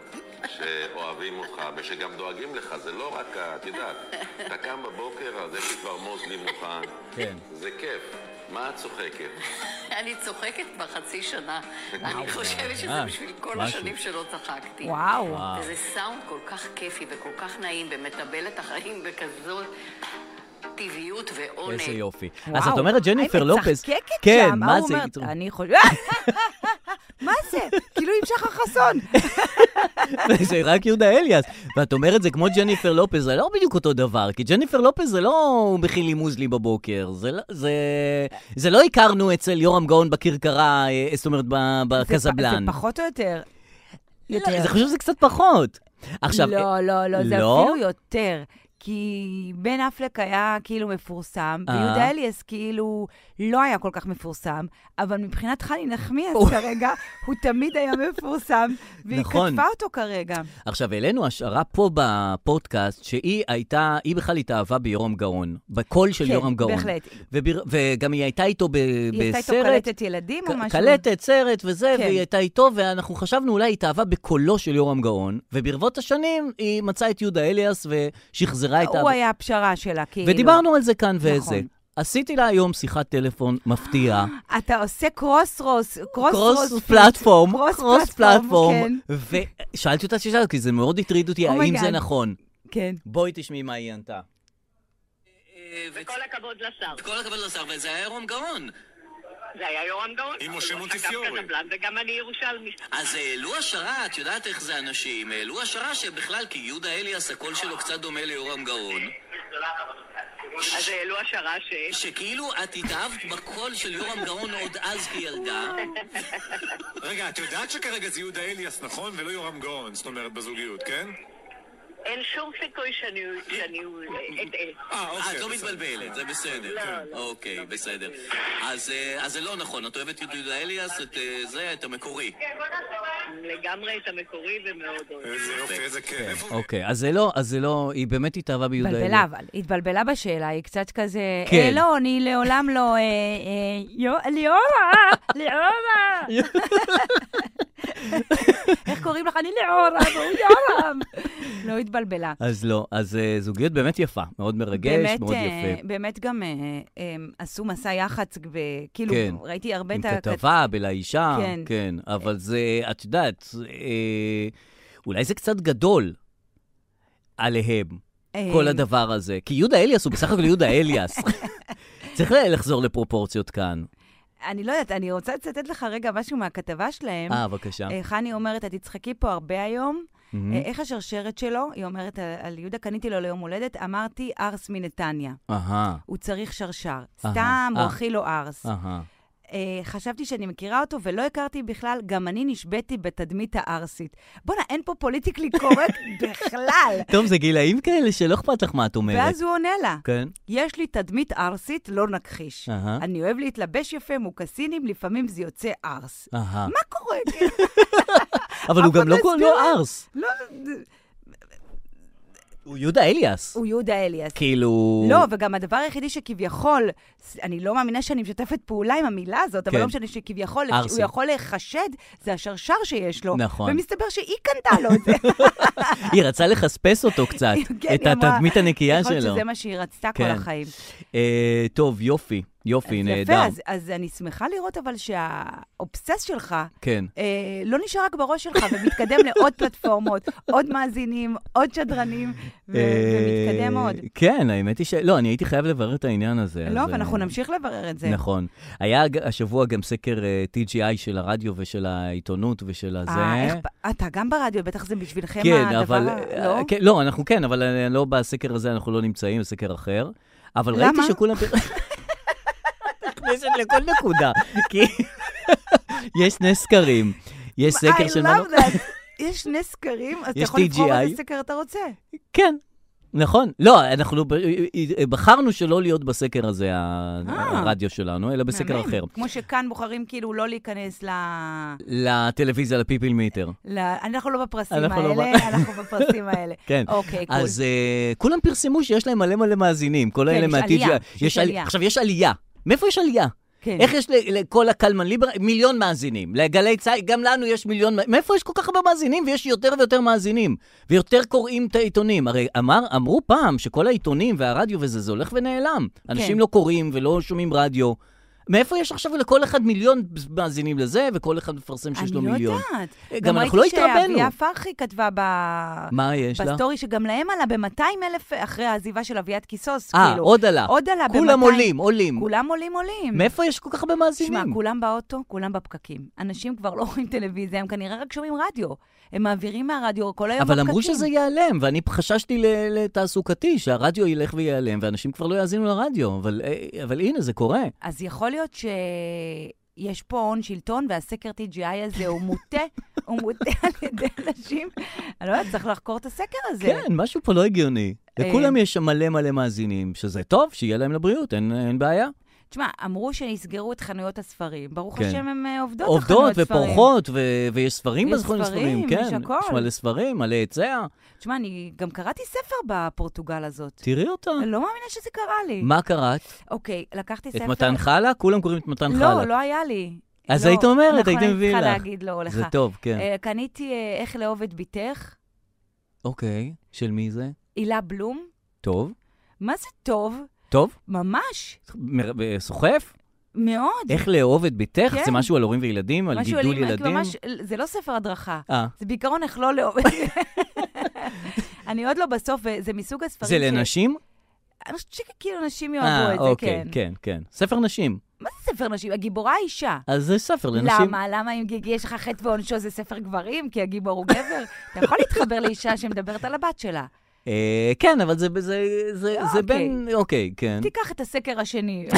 Speaker 5: שאוהבים אותך ושגם דואגים לך, זה לא רק, ה- את יודעת, אתה קם בבוקר, אז יש לי כבר מוזלי מוכן.
Speaker 2: כן.
Speaker 5: זה כיף. מה את צוחקת?
Speaker 4: אני צוחקת כבר חצי שנה. אני חושבת שזה
Speaker 2: ממש,
Speaker 4: בשביל כל
Speaker 2: משהו.
Speaker 4: השנים שלא צחקתי.
Speaker 3: וואו.
Speaker 4: וזה סאונד כל כך כיפי וכל כך נעים, ומטבל את החיים בכזאת טבעיות ועונג.
Speaker 2: איזה יופי. אז
Speaker 3: וואו,
Speaker 2: את אומרת ג'ניפר
Speaker 3: אני
Speaker 2: לופז.
Speaker 3: מצחקקת
Speaker 2: כן,
Speaker 3: שם,
Speaker 2: מה
Speaker 3: ההוא
Speaker 2: זה?
Speaker 3: אומרת, אני חושבת... מה זה? כאילו עם שחר חסון.
Speaker 2: זה רק יהודה אליאס. ואת אומרת זה כמו ג'ניפר לופז, זה לא בדיוק אותו דבר, כי ג'ניפר לופז זה לא הוא מכין לי מוזלי בבוקר, זה לא- זה- זה לא הכרנו אצל יורם גאון בכרכרה, אה, זאת אומרת, ב-
Speaker 3: זה פ-
Speaker 2: בקזבלן.
Speaker 3: זה פחות או יותר.
Speaker 2: לא, אני חושב שזה קצת פחות. עכשיו,
Speaker 3: לא,
Speaker 2: אה,
Speaker 3: לא, לא, זה
Speaker 2: לא?
Speaker 3: אפילו יותר. כי בן אפלק היה כאילו מפורסם,
Speaker 2: אה.
Speaker 3: ויהודה אליאס כאילו לא היה כל כך מפורסם, אבל מבחינת חני נחמיאס
Speaker 2: הוא-
Speaker 3: כרגע, הוא תמיד היה מפורסם, והיא
Speaker 2: נכון.
Speaker 3: כתבה אותו כרגע.
Speaker 2: עכשיו, העלינו השערה פה בפודקאסט, שהיא הייתה, היא בכלל התאהבה ביורם גאון, בקול של
Speaker 3: כן,
Speaker 2: יורם גאון.
Speaker 3: בהחלט.
Speaker 2: וביר- וגם היא הייתה איתו ב- בסרט.
Speaker 3: היא עשתה איתו קלטת ילדים או
Speaker 2: ק-
Speaker 3: משהו?
Speaker 2: קלטת, סרט וזה,
Speaker 3: כן.
Speaker 2: והיא הייתה איתו, ואנחנו חשבנו אולי היא התאהבה בקולו של יורם גאון, וברבות השנים היא מצאה את יהודה אליאס ושחזרה את
Speaker 3: הוא היה הפשרה שלה, כאילו.
Speaker 2: ודיברנו על זה כאן וזה.
Speaker 3: נכון.
Speaker 2: עשיתי לה היום שיחת טלפון מפתיעה.
Speaker 3: אתה עושה קרוס רוס, קרוס
Speaker 2: קרוס
Speaker 3: רוס.
Speaker 2: פלטפורם,
Speaker 3: קרוס
Speaker 2: קרוס
Speaker 3: פלטפורם,
Speaker 2: פלטפורם, ושאלתי אותה שאלה, כי זה מאוד הטריד אותי,
Speaker 3: כן. Oh my
Speaker 2: האם זה
Speaker 3: God.
Speaker 2: נכון.
Speaker 3: כן.
Speaker 2: בואי תשמעי מה היא ענתה.
Speaker 6: וכל הכבוד לשר.
Speaker 2: כל הכבוד לשר, וזה היה יורם גאון.
Speaker 6: זה היה יורם גאון.
Speaker 7: עם
Speaker 6: הוא לא
Speaker 7: משה
Speaker 6: גם
Speaker 7: מונטיפיורי.
Speaker 6: כתב קזבלן וגם אני ירושלמי.
Speaker 2: אז העלו השערה, את יודעת איך זה אנשים, העלו השערה שבכלל, כי יהודה אליאס, הקול שלו קצת דומה ליורם גאון,
Speaker 6: אז העלו השערה ש...
Speaker 2: שכאילו את התאהבת בקול של יורם גאון עוד אז כילדה.
Speaker 7: רגע, את יודעת שכרגע זה יהודה אליאס, נכון? ולא יורם גאון, זאת אומרת, בזוגיות, כן?
Speaker 6: אין שום סיכוי שאני שאני אטעה.
Speaker 7: אה, כן. אוקיי.
Speaker 2: את לא
Speaker 7: בסדר.
Speaker 2: מתבלבלת, זה בסדר.
Speaker 6: לא, לא.
Speaker 2: אוקיי, בסדר. אז אה, אז זה לא נכון, את אוהבת את יהודה אליאס, את אה, זה, את המקורי.
Speaker 6: כן, לגמרי את המקורי ומאוד אוהב.
Speaker 7: איזה יופי, איזה כיף. איפה הוא?
Speaker 2: אוקיי, אז זה לא, אז זה לא, היא באמת התאהבה ביהודה
Speaker 3: התבלבלה, אבל, התבלבלה בשאלה, היא קצת כזה,
Speaker 2: כן.
Speaker 3: כן. אה, לא, אני לעולם לא, אה, אה, יו, ליאורה, ליאורה. איך קוראים לך? אני ליאורה, והוא יורם. לא התבלבלה.
Speaker 2: אז לא, אז אה, זוגיות באמת יפה, מאוד מרגש,
Speaker 3: באמת,
Speaker 2: מאוד
Speaker 3: אה,
Speaker 2: יפה.
Speaker 3: באמת גם אה, אה, עשו מסע יח"צ, ב- כאילו,
Speaker 2: כן.
Speaker 3: ראיתי הרבה
Speaker 2: עם
Speaker 3: את הכת-
Speaker 2: כתבה, בלאישה, כן.
Speaker 3: כן.
Speaker 2: כן. אבל זה, את יודעת, אה, אולי זה קצת גדול עליהם,
Speaker 3: אה,
Speaker 2: כל הדבר הזה. כי יהודה אליאס הוא בסך הכל יהודה אליאס. צריך לחזור לפרופורציות כאן.
Speaker 3: אני לא יודעת, אני רוצה לצטט לך רגע משהו מהכתבה שלהם.
Speaker 2: אה, בבקשה.
Speaker 3: אה, חני אומרת, את תצחקי פה הרבה היום.
Speaker 2: מהמם.
Speaker 3: אה, איך השרשרת שלו? היא אומרת על- על יהודה, קניתי לו ליום הולדת, אמרתי ארס מנתניה.
Speaker 2: אהה,
Speaker 3: הוא צריך שרשר.
Speaker 2: אהה,
Speaker 3: סתם,
Speaker 2: אה.
Speaker 3: הוא הכי לא ארס.
Speaker 2: אהה.
Speaker 3: אה, אה, חשבתי שאני מכירה אותו ולא הכרתי בכלל, גם אני נשבתי בתדמית הערסית. בואנה, אין פה פוליטיקלי קורקט בכלל.
Speaker 2: טוב, זה גילאים כאלה שלא אכפת לך מה את אומרת.
Speaker 3: ואז הוא עונה לה,
Speaker 2: כן.
Speaker 3: יש לי תדמית ערסית, לא נכחיש.
Speaker 2: אהה.
Speaker 3: אני אוהב להתלבש יפה, מוקסינים, לפעמים זה יוצא ערס.
Speaker 2: אהה.
Speaker 3: מה קורה? כן,
Speaker 2: אבל הוא
Speaker 3: אף אחד
Speaker 2: גם לא
Speaker 3: לא
Speaker 2: קורא לו
Speaker 3: הסביר לה.
Speaker 2: ארס.
Speaker 3: לא,
Speaker 2: הוא יהודה אליאס.
Speaker 3: הוא יהודה אליאס.
Speaker 2: כאילו...
Speaker 3: לא, וגם הדבר היחידי שכביכול, ס- אני לא מאמינה שאני משתפת פעולה עם המילה הזאת, אבל
Speaker 2: כן.
Speaker 3: לא משנה שכביכול,
Speaker 2: ערסי.
Speaker 3: הוא יכול להיחשד, זה השרשר שיש לו.
Speaker 2: נכון.
Speaker 3: ומסתבר שהיא קנתה לו את זה.
Speaker 2: היא רצה לחספס אותו קצת,
Speaker 3: כן,
Speaker 2: את
Speaker 3: היא אמרה,
Speaker 2: התדמית הנקייה
Speaker 3: יכול להיות
Speaker 2: שלו.
Speaker 3: שזה מה שהיא רצתה כל
Speaker 2: כן.
Speaker 3: החיים.
Speaker 2: אה, טוב, יופי, יופי,
Speaker 3: אז
Speaker 2: נהדר.
Speaker 3: יפה, אז- אז אני שמחה לראות אבל שהאובסס שלך...
Speaker 2: כן.
Speaker 3: אה, לא נשאר רק בראש שלך ומתקדם לעוד פלטפורמות, עוד מאזינים, עוד שדרנים, ו- ומתקדם
Speaker 2: אה,
Speaker 3: עוד.
Speaker 2: כן, האמת היא ש... לא, אני הייתי חייב לברר את העניין הזה.
Speaker 3: לא,
Speaker 2: אז,
Speaker 3: ואנחנו
Speaker 2: אה,
Speaker 3: נמשיך לברר את זה.
Speaker 2: נכון. היה ג- השבוע גם סקר אה, TGI של הרדיו ושל העיתונות ושל הזה.
Speaker 3: אה, איך פ- אתה גם ברדיו, בטח זה בשבילכם
Speaker 2: כן,
Speaker 3: הדבר,
Speaker 2: אבל...
Speaker 3: ה-
Speaker 2: אה,
Speaker 3: לא?
Speaker 2: כן, לא, אנחנו כן, אבל אה, לא בסקר הזה, אנחנו לא נמצאים, זה סקר אחר. אבל ראיתי
Speaker 3: למה?
Speaker 2: שכולם... נכנסת לכל נקודה. כי יש שני סקרים. יש סקר של...
Speaker 3: I
Speaker 2: מנו-
Speaker 3: love that. יש שני סקרים, אז אתה
Speaker 2: יש
Speaker 3: יכול לבחור
Speaker 2: TGI.
Speaker 3: איזה סקר אתה רוצה.
Speaker 2: כן, נכון. לא, אנחנו ב- אה, בחרנו שלא להיות בסקר הזה, ה-
Speaker 3: אה.
Speaker 2: הרדיו שלנו, אלא בסקר
Speaker 3: מהמם.
Speaker 2: אחר.
Speaker 3: כמו שכאן בוחרים כאילו לא להיכנס ל...
Speaker 2: לטלוויזיה, לפיפיל מיטר.
Speaker 3: ל... אנחנו לא בפרסים
Speaker 2: אנחנו לא
Speaker 3: האלה,
Speaker 2: ב-
Speaker 3: אנחנו בפרסים האלה.
Speaker 2: כן.
Speaker 3: אוקיי, קול.
Speaker 2: אז אה, כולם פרסמו שיש להם מלא מלא מאזינים, כל האלה
Speaker 3: כן, יש
Speaker 2: מה-TGI.
Speaker 3: עלייה, יש
Speaker 2: עלי-
Speaker 3: עלייה.
Speaker 2: עכשיו, יש עלייה. מאיפה יש עלייה?
Speaker 3: כן.
Speaker 2: איך יש ל- לכל הקלמן ליבר מיליון מאזינים? לגלי צה"ל, גם לנו יש מיליון, מא- מאיפה יש כל כך הרבה מאזינים? ויש יותר ויותר מאזינים, ויותר קוראים את העיתונים. הרי אמר, אמרו פעם שכל העיתונים והרדיו וזה, זה הולך ונעלם. אנשים
Speaker 3: כן.
Speaker 2: לא קוראים ולא שומעים רדיו. מאיפה יש עכשיו לכל אחד מיליון מאזינים לזה, וכל אחד מפרסם שיש לו
Speaker 3: אני
Speaker 2: מיליון?
Speaker 3: לא יודעת.
Speaker 2: גם אנחנו לא
Speaker 3: גם
Speaker 2: התרבנו.
Speaker 3: ראיתי שאביה פרחי כתבה ב...
Speaker 2: מה יש לה?
Speaker 3: בסטורי, שגם להם עלה ב-200 אלף אחרי העזיבה של אביעד קיסוס,
Speaker 2: אה,
Speaker 3: כאילו.
Speaker 2: עוד עלה.
Speaker 3: עוד עלה ב-200.
Speaker 2: כולם עולים, עולים.
Speaker 3: כולם עולים, עולים.
Speaker 2: מאיפה יש כל כך הרבה
Speaker 3: תשמע,
Speaker 2: מאזינים?
Speaker 3: כולם באוטו, כולם בפקקים. אנשים כבר לא רואים טלוויזיה, הם כנראה רק שומעים רדיו. הם מעבירים מהרדיו כל היום בפקקים.
Speaker 2: אבל אמרו שזה ייעלם, ואני חששתי ל- לתעסוקתי, שהרדיו ילך וייעלם, ואנשים כבר לא יאזינו לרדיו, אבל, אה, אבל הנה, זה קורה.
Speaker 3: אז יכול להיות שיש פה הון שלטון, והסקר TGI הזה הוא מוטה, הוא מוטה על ידי אנשים. אני לא יודעת, צריך לחקור את הסקר הזה.
Speaker 2: כן, משהו פה לא הגיוני.
Speaker 3: אה.
Speaker 2: לכולם יש שם מלא מלא מאזינים, שזה טוב, שיהיה להם לבריאות, אין, אין
Speaker 3: לא,
Speaker 2: בעיה.
Speaker 3: תשמע, אמרו שיסגרו את חנויות הספרים. ברוך
Speaker 2: כן.
Speaker 3: השם, הן אה, עובדות,
Speaker 2: עובדות
Speaker 3: החנויות ספרים.
Speaker 2: ופורחות, ו- ויש ספרים
Speaker 3: יש
Speaker 2: בזכויות
Speaker 3: ספרים,
Speaker 2: כן.
Speaker 3: יש הכל.
Speaker 2: יש מלא ספרים, מלא היצע.
Speaker 3: תשמע, אני גם קראתי ספר בפורטוגל הזאת.
Speaker 2: תראי אותה.
Speaker 3: אני לא מאמינה שזה קרה לי.
Speaker 2: אה. מה קראת?
Speaker 3: אוקיי, לקחתי
Speaker 2: את
Speaker 3: ספר...
Speaker 2: מתן חלה? כולם קוראים את מתן חלה.
Speaker 3: לא, לא היה לי.
Speaker 2: אז
Speaker 3: לא.
Speaker 2: היית אומרת, הייתי
Speaker 3: נכון, אני
Speaker 2: מביאה
Speaker 3: צריכה
Speaker 2: לך.
Speaker 3: להגיד לא לך.
Speaker 2: זה טוב, כן.
Speaker 3: אה, קניתי אה, איך לאהוב את בתך,
Speaker 2: אוקיי, של מי זה?
Speaker 3: הילה בלום.
Speaker 2: טוב.
Speaker 3: מה זה טוב?
Speaker 2: טוב?
Speaker 3: ממש,
Speaker 2: מ- אה, סוחף?
Speaker 3: מאוד.
Speaker 2: איך לאהוב את ביתך?
Speaker 3: כן.
Speaker 2: זה משהו על הורים וילדים? על
Speaker 3: משהו
Speaker 2: גידול
Speaker 3: אלים, כי
Speaker 2: ילדים?
Speaker 3: ממש- זה לא ספר הדרכה.
Speaker 2: אה,
Speaker 3: זה בעיקרון איך לא לאהוב. אני עוד לא בסוף, וזה מסוג הספרים
Speaker 2: זה
Speaker 3: ש-
Speaker 2: לנשים?
Speaker 3: אני חושבת שכאילו נשים
Speaker 2: אה,
Speaker 3: יאהבו את זה,
Speaker 2: אוקיי,
Speaker 3: כן.
Speaker 2: כן, כן. ספר נשים.
Speaker 3: מה זה ספר נשים? הגיבורה היא אישה.
Speaker 2: אז זה ספר לנשים.
Speaker 3: למה? למה אם גיגי יש לך חטא ועונשו זה ספר גברים? כי הגיבור הוא גבר? אתה יכול להתחבר לאישה שמדברת על הבת שלה.
Speaker 2: אה, כן, אבל זה- זה זה- זה
Speaker 3: אוקיי.
Speaker 2: בין... אוקיי, כן.
Speaker 3: תיקח את הסקר השני.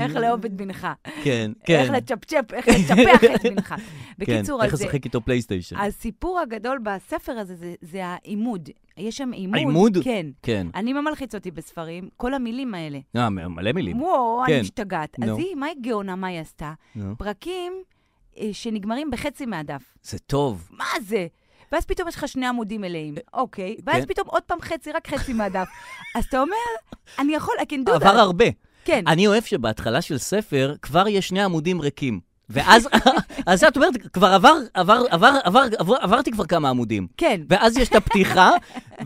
Speaker 3: איך לאהוב את בנך.
Speaker 2: כן,
Speaker 3: איך
Speaker 2: כן.
Speaker 3: לצ'פצ'פ, איך לצ'פח את בנך. בקיצור,
Speaker 2: כן, איך
Speaker 3: אז זה-
Speaker 2: לשחק איתו פלייסטיישן.
Speaker 3: הסיפור הגדול בספר הזה זה- זה העימוד. יש שם עימוד.
Speaker 2: העימוד?
Speaker 3: כן.
Speaker 2: כן.
Speaker 3: אני, מה מלחיץ אותי בספרים? כל המילים האלה.
Speaker 2: אה, מ- מלא מילים.
Speaker 3: וואו,
Speaker 2: כן.
Speaker 3: אני משתגעת. אז
Speaker 2: נו.
Speaker 3: היא, מה היא גאונה? מה היא עשתה?
Speaker 2: נו.
Speaker 3: פרקים אה, שנגמרים בחצי מהדף.
Speaker 2: זה טוב.
Speaker 3: מה זה? ואז פתאום יש לך שני עמודים מלאים, אוקיי, ואז
Speaker 2: כן.
Speaker 3: פתאום עוד פעם חצי, רק חצי מהדף. אז אתה אומר, אני יכול, I can do
Speaker 2: עבר
Speaker 3: that.
Speaker 2: הרבה.
Speaker 3: כן,
Speaker 2: אני אוהב שבהתחלה של ספר כבר יש שני עמודים ריקים. ואז, אז את אומרת, כבר עבר, עבר, עבר, עבר, עבר, עברתי כבר כמה עמודים.
Speaker 3: כן.
Speaker 2: ואז יש את הפתיחה,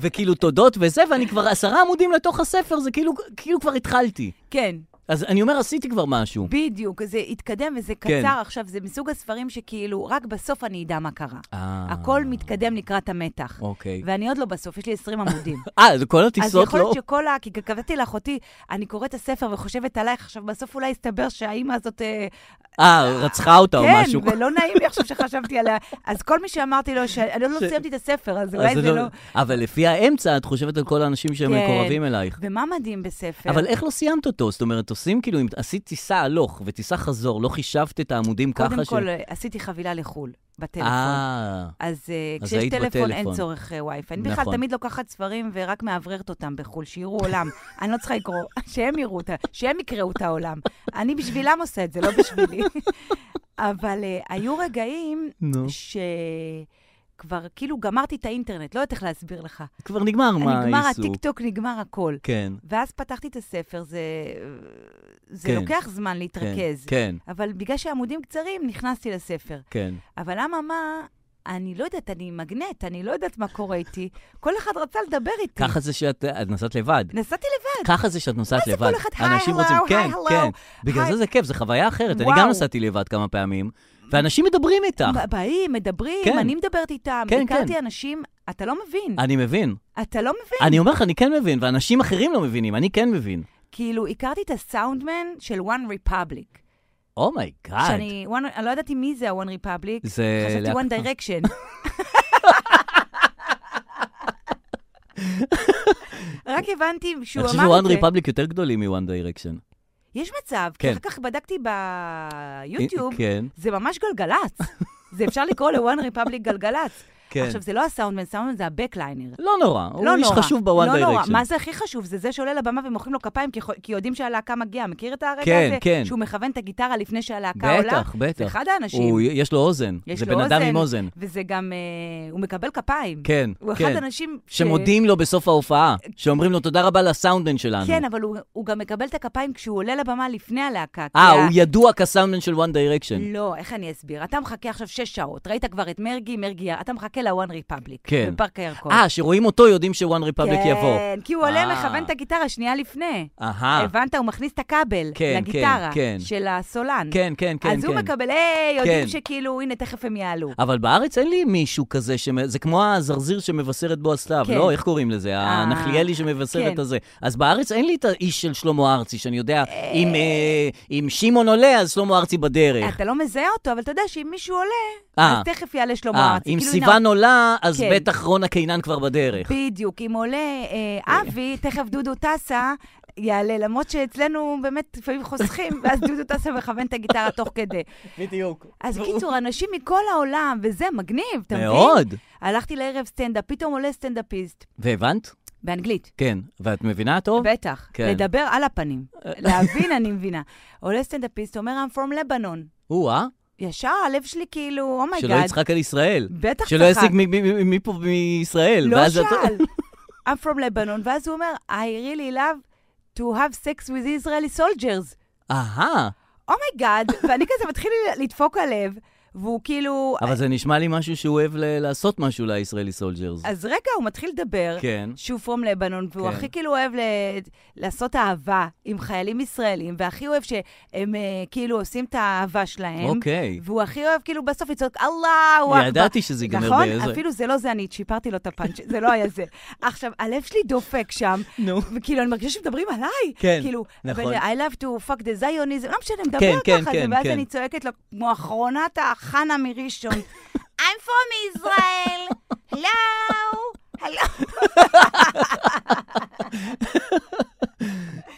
Speaker 2: וכאילו תודות וזה, ואני כבר עשרה עמודים לתוך הספר, זה כאילו, כאילו כבר התחלתי.
Speaker 3: כן,
Speaker 2: אז אני אומר, עשיתי כבר משהו.
Speaker 3: בדיוק, זה התקדם וזה
Speaker 2: כן.
Speaker 3: קצר עכשיו, זה מסוג הספרים שכאילו, רק בסוף אני אדע מה קרה.
Speaker 2: אה,
Speaker 3: הכל מתקדם לקראת המתח.
Speaker 2: אוקיי.
Speaker 3: ואני עוד לא בסוף, יש לי 20 עמודים.
Speaker 2: אה, זה כל
Speaker 3: אז
Speaker 2: הטיסות
Speaker 3: יכול
Speaker 2: לא...
Speaker 3: להיות שכל ה... כי גם כתבתי לאחותי, אני קוראת את הספר וחושבת עלייך, עכשיו בסוף אולי יסתבר שהאימא הזאת... אה,
Speaker 2: אה, רצחה אותה או
Speaker 3: כן,
Speaker 2: משהו.
Speaker 3: ולא נעים לי עכשיו שחשבתי עליה. אז כל מי שאמרתי לו שאני עוד לא סיימתי את הספר, אז אולי
Speaker 2: אז
Speaker 3: זה לא...
Speaker 2: אבל לפי האמצע, את חושבת על כל האנשים שהם
Speaker 3: כן.
Speaker 2: מקורבים אלייך.
Speaker 3: ומה מדהים בספר?
Speaker 2: אבל איך לא סיימת אותו? זאת אומרת, במטוסים, כאילו, אם עשית טיסה הלוך וטיסה חזור, לא חישבת את העמודים ככה
Speaker 3: קודם
Speaker 2: ש...
Speaker 3: כל, אה, עשיתי חבילה לחו"ל, בטלפון.
Speaker 2: אה,
Speaker 3: אז אה,
Speaker 2: אז
Speaker 3: כשיש
Speaker 2: היית
Speaker 3: טלפון אין
Speaker 2: בטלפון.
Speaker 3: צורך אה, וי-פיי. אני בכלל
Speaker 2: נכון.
Speaker 3: תמיד לוקחת ספרים ורק מאווררת אותם בחו"ל, שיראו עולם. אני לא צריכה לקרוא, שהם יראו אותה, שהם יקראו את העולם. אני בשבילם עושה את זה, לא בשבילי. אבל אה, היו רגעים
Speaker 2: נו.
Speaker 3: שכבר כאילו גמרתי את האינטרנט, לא יודעת איך להסביר לך.
Speaker 2: כבר נגמר מה
Speaker 3: נגמר
Speaker 2: העיסוק.
Speaker 3: הטיקטוק, נגמר הכל.
Speaker 2: כן,
Speaker 3: ואז פתחתי את הספר, זה, זה
Speaker 2: כן.
Speaker 3: לוקח זמן
Speaker 2: כן,
Speaker 3: להתרכז.
Speaker 2: כן,
Speaker 3: אבל בגלל שהעמודים קצרים, נכנסתי לספר.
Speaker 2: כן.
Speaker 3: אבל אממה, אני לא יודעת, אני מגנט, אני לא יודעת מה קורה איתי. כל אחד רצה לדבר איתי.
Speaker 2: ככה זה שאת את נסעת לבד.
Speaker 3: נסעתי לבד.
Speaker 2: ככה זה שאת נוסעת
Speaker 3: מה זה
Speaker 2: לבד.
Speaker 3: כל אחד, "היי,
Speaker 2: אנשים
Speaker 3: הלו,
Speaker 2: רוצים,
Speaker 3: היי,
Speaker 2: כן,
Speaker 3: הלו,
Speaker 2: כן. בגלל
Speaker 3: היי."
Speaker 2: זה זה כיף, זו חוויה אחרת. אני
Speaker 3: וואו.
Speaker 2: גם נסעתי לבד כמה פעמים, ואנשים מדברים איתך.
Speaker 3: ב- באים, מדברים,
Speaker 2: כן.
Speaker 3: אני מדברת איתם.
Speaker 2: כן,
Speaker 3: הכרתי
Speaker 2: כן.
Speaker 3: אנשים, אתה לא מבין.
Speaker 2: אני מבין.
Speaker 3: אתה לא מבין.
Speaker 2: אני אומר לך, אני כן מבין, ואנשים אחרים לא מבינים, אני כן מבין.
Speaker 3: כאילו, הכרתי את הסאונדמן של One Republic.
Speaker 2: אומייגאד.
Speaker 3: שאני, one, אני לא ידעתי מי זה ה-One Republic.
Speaker 2: זה
Speaker 3: חשבתי
Speaker 2: להקה.
Speaker 3: One Direction. רק הבנתי שהוא
Speaker 2: אני
Speaker 3: אמר את
Speaker 2: חושב
Speaker 3: זה.
Speaker 2: ש-One Republic יותר גדולים מ-One Direction.
Speaker 3: יש מצב,
Speaker 2: כן.
Speaker 3: כי אחר כך בדקתי ביוטיוב,
Speaker 2: כן,
Speaker 3: זה ממש גלגלצ. זה אפשר לקרוא ל-One Republic גלגלצ.
Speaker 2: כן.
Speaker 3: עכשיו, זה לא הסאונדמן, סאונדמן זה הבקליינר.
Speaker 2: לא נורא,
Speaker 3: לא
Speaker 2: הוא
Speaker 3: נורא.
Speaker 2: איש חשוב ב-One
Speaker 3: לא נורא. מה
Speaker 2: Direction.
Speaker 3: זה הכי חשוב? זה זה שעולה לבמה ומוחאים לו כפיים, כי חו- כי יודעים שהלהקה מגיעה. מכיר את הרגע
Speaker 2: כן,
Speaker 3: הזה?
Speaker 2: כן.
Speaker 3: שהוא מכוון את הגיטרה לפני שהלהקה עולה?
Speaker 2: בטח, בטח.
Speaker 3: זה אחד האנשים.
Speaker 2: הוא- יש לו אוזן.
Speaker 3: יש
Speaker 2: זה
Speaker 3: לו
Speaker 2: בן אדם
Speaker 3: אוזן,
Speaker 2: עם אוזן.
Speaker 3: וזה גם... אה, הוא מקבל כפיים.
Speaker 2: כן,
Speaker 3: הוא אחד
Speaker 2: כן.
Speaker 3: האנשים... ש-
Speaker 2: שמודים לו בסוף ההופעה, שאומרים לו תודה רבה לסאונדמן שלנו.
Speaker 3: כן, אבל הוא- הוא גם מקבל את הכפיים כשהוא עולה לבמה לפני הלהקה. כי
Speaker 2: אה,
Speaker 3: ה-
Speaker 2: הוא ידוע כסאונדמן של One Direction.
Speaker 3: לא, איך אני אסביר? אתה מחכה עכשיו שש שעות, ראית כבר את מרגי, מרגי, אתה מחכה ל-One Republic.
Speaker 2: כן.
Speaker 3: בפארק הירקון.
Speaker 2: אה, שרואים אותו יודעים ש-One Republic יבוא.
Speaker 3: לא. כן, כי הוא עולה,
Speaker 2: אה.
Speaker 3: מכוון את הגיטרה שנייה לפני.
Speaker 2: אהה.
Speaker 3: הבנת? הוא מכניס את הכבל
Speaker 2: כן, כן,
Speaker 3: לגיטרה
Speaker 2: כן.
Speaker 3: של הסולן.
Speaker 2: כן, כן, כן,
Speaker 3: אז הוא
Speaker 2: כן.
Speaker 3: מקבל, היי, יודעים
Speaker 2: כן.
Speaker 3: שכאילו, הנה, תכף הם יעלו.
Speaker 2: אבל בארץ אין לי מישהו כזה, שמ... זה כמו הזרזיר שמבשרת בו הסתיו,
Speaker 3: כן.
Speaker 2: לא, איך קוראים לזה? הנחליאלי שמבשר
Speaker 3: כן.
Speaker 2: את הזה. אז בארץ אין לי את האיש של שלמה ארצי, שאני יודע, אם, אה, אם שמעון עולה, אז שלמה ארצי בדרך.
Speaker 3: אתה לא מזהה אותו, אבל אתה יודע שאם מישהו עולה,
Speaker 2: אה.
Speaker 3: אז תכף יעלה שלמה
Speaker 2: אה,
Speaker 3: ארצי.
Speaker 2: אם
Speaker 3: כאילו,
Speaker 2: סיוון
Speaker 3: הנה,
Speaker 2: עולה, אז
Speaker 3: כן.
Speaker 2: בטח רונה קינן כבר בדרך.
Speaker 3: בדיוק, אם עולה אה, אבי, תכף דודו טסה. יעלה, למרות שאצלנו באמת לפעמים חוסכים, ואז דודו טסה מכוון את הגיטרה תוך כדי.
Speaker 2: בדיוק.
Speaker 3: אז קיצור, אנשים מכל העולם, וזה מגניב, אתה מבין?
Speaker 2: מאוד.
Speaker 3: הלכתי לערב סטנדאפ, פתאום עולה סטנדאפיסט,
Speaker 2: והבנת?
Speaker 3: באנגלית.
Speaker 2: כן. ואת מבינה טוב?
Speaker 3: בטח,
Speaker 2: כן.
Speaker 3: לדבר על הפנים. להבין, אני מבינה. עולה סטנדאפיסט, אומר, I'm from Lebanon.
Speaker 2: או-אה,
Speaker 3: ישר הלב שלי כאילו, אומייגאד.
Speaker 2: שלא יצחק על ישראל.
Speaker 3: Oh בטח
Speaker 2: שלא
Speaker 3: צחק.
Speaker 2: ישיג מ- מ- מ- מפה מישראל.
Speaker 3: לא
Speaker 2: ואז את-
Speaker 3: שאל. I'm from Lebanon, ואז הוא אומר, I really love to have sex with Israeli soldiers.
Speaker 2: אהה,
Speaker 3: אומייגאד, ואני כזה מתחיל לי לדפוק הלב, והוא כאילו...
Speaker 2: אבל זה נשמע לי משהו שהוא אוהב ל- לעשות משהו לישראלי סולג'רס.
Speaker 3: אז רגע, הוא מתחיל לדבר.
Speaker 2: כן.
Speaker 3: שהוא פרום לבנון, והוא
Speaker 2: כן.
Speaker 3: הכי כאילו אוהב ל... לעשות אהבה עם חיילים ישראלים, והכי אוהב שהם אה, כאילו עושים את האהבה שלהם.
Speaker 2: אוקיי.
Speaker 3: והוא הכי אוהב כאילו בסוף לצעוק, אללהו אכבר.
Speaker 2: ידעתי שזה ייגמר
Speaker 3: נכון?
Speaker 2: באיזה-
Speaker 3: אפילו זה לא זה, אני שיפרתי לו את הפאנץ', זה לא היה זה. עכשיו, הלב שלי דופק שם.
Speaker 2: נו.
Speaker 3: וכאילו, אני מרגישה שמדברים עליי.
Speaker 2: כן,
Speaker 3: כאילו,
Speaker 2: נכון.
Speaker 3: אבל I love to fuck the Zionism, לא משנה, מדבר
Speaker 2: כן, כן,
Speaker 3: ככה,
Speaker 2: כן,
Speaker 3: ואז
Speaker 2: כן.
Speaker 3: אני צועקת לו, כמו אחרונת החנה מראשון, I'm from Israel, לא, הלו.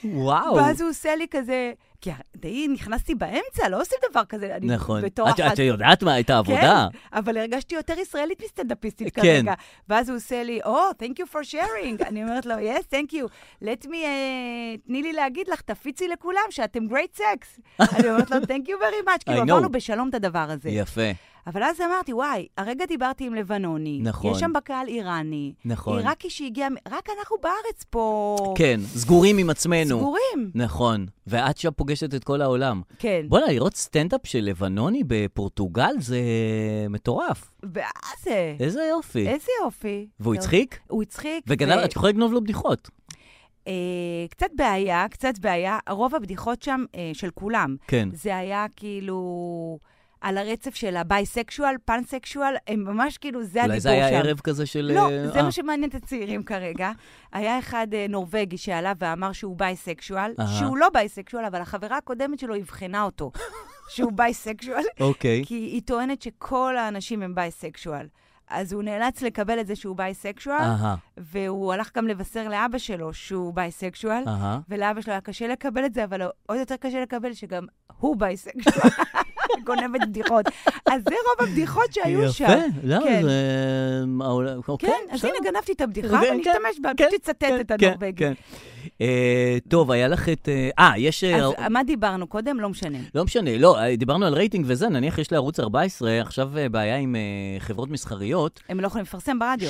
Speaker 2: וואו.
Speaker 3: ואז הוא עושה לי כזה, כי די נכנסתי באמצע, לא עושים דבר כזה. אני
Speaker 2: נכון.
Speaker 3: בתור
Speaker 2: את-
Speaker 3: אחת...
Speaker 2: את יודעת מה, את העבודה.
Speaker 3: כן, אבל הרגשתי יותר ישראלית מסטנדאפיסטית
Speaker 2: כן.
Speaker 3: כרגע. ואז הוא עושה לי, או, oh, thank you for sharing. אני אומרת לו, yes, thank you. let me, uh, תני לי להגיד לך, תפיצי לכולם שאתם great sex. אני אומרת לו, thank you very much. כאילו,
Speaker 2: know.
Speaker 3: עברנו בשלום את הדבר הזה.
Speaker 2: יפה.
Speaker 3: אבל אז אמרתי, וואי, הרגע דיברתי עם לבנוני.
Speaker 2: נכון.
Speaker 3: יש שם בקהל איראני.
Speaker 2: נכון.
Speaker 3: עיראקי שהגיע, מ- רק אנחנו בארץ פה...
Speaker 2: כן, סגורים עם עצמנו.
Speaker 3: סגורים.
Speaker 2: נכון, ואת שם פוגשת את כל העולם.
Speaker 3: כן.
Speaker 2: בוא'נה, לראות סטנדאפ של לבנוני בפורטוגל זה מטורף.
Speaker 3: ואז זה.
Speaker 2: איזה יופי.
Speaker 3: כן. איזה יופי.
Speaker 2: והוא
Speaker 3: טוב.
Speaker 2: הצחיק?
Speaker 3: הוא הצחיק.
Speaker 2: וגנב,
Speaker 3: ו-
Speaker 2: את יכולה לגנוב לו בדיחות.
Speaker 3: אה, קצת בעיה, קצת בעיה. רוב הבדיחות שם, אה, של כולם,
Speaker 2: כן.
Speaker 3: זה היה כאילו על הרצף של הביסקשואל, פנסקשואל, הם ממש כאילו, זה הדיבור שם.
Speaker 2: אולי זה היה ערב כזה של...
Speaker 3: לא, זה
Speaker 2: אה,
Speaker 3: מה שמעניין את הצעירים כרגע. היה אחד אה, נורבגי שעלה ואמר שהוא בייסקשואל,
Speaker 2: אהה.
Speaker 3: שהוא לא בייסקשואל, אבל החברה הקודמת שלו אבחנה אותו שהוא בייסקשואל,
Speaker 2: אוקיי.
Speaker 3: כי היא טוענת שכל האנשים הם בייסקשואל. אז הוא נאלץ לקבל את זה שהוא בייסקשואל,
Speaker 2: אהה,
Speaker 3: והוא הלך גם לבשר לאבא שלו שהוא בייסקשואל,
Speaker 2: אהה.
Speaker 3: ולאבא שלו היה קשה לקבל את זה, אבל עוד יותר קשה לקבל שגם הוא בייסקשואל, גונבת בדיחות. אז זה רוב הבדיחות שהיו שם.
Speaker 2: יפה, לא,
Speaker 3: כן.
Speaker 2: זה... העולם- אוקיי,
Speaker 3: כן, אז
Speaker 2: בסדר.
Speaker 3: הנה גנבתי את הבדיחה,
Speaker 2: כן,
Speaker 3: ואני
Speaker 2: כן,
Speaker 3: אשתמש בה,
Speaker 2: כן,
Speaker 3: פשוט תצטט
Speaker 2: כן,
Speaker 3: את
Speaker 2: כן,
Speaker 3: הנורבגי.
Speaker 2: כן. אה, טוב, היה לך את... אה, אה, יש... אה,
Speaker 3: אז מה דיברנו קודם? לא משנה.
Speaker 2: לא משנה, לא, אה, דיברנו על רייטינג וזה, נניח יש לערוץ 14 עכשיו אה, בעיה עם אה, חברות מסחריות,
Speaker 3: הם לא יכולים לפרסם ברדיו.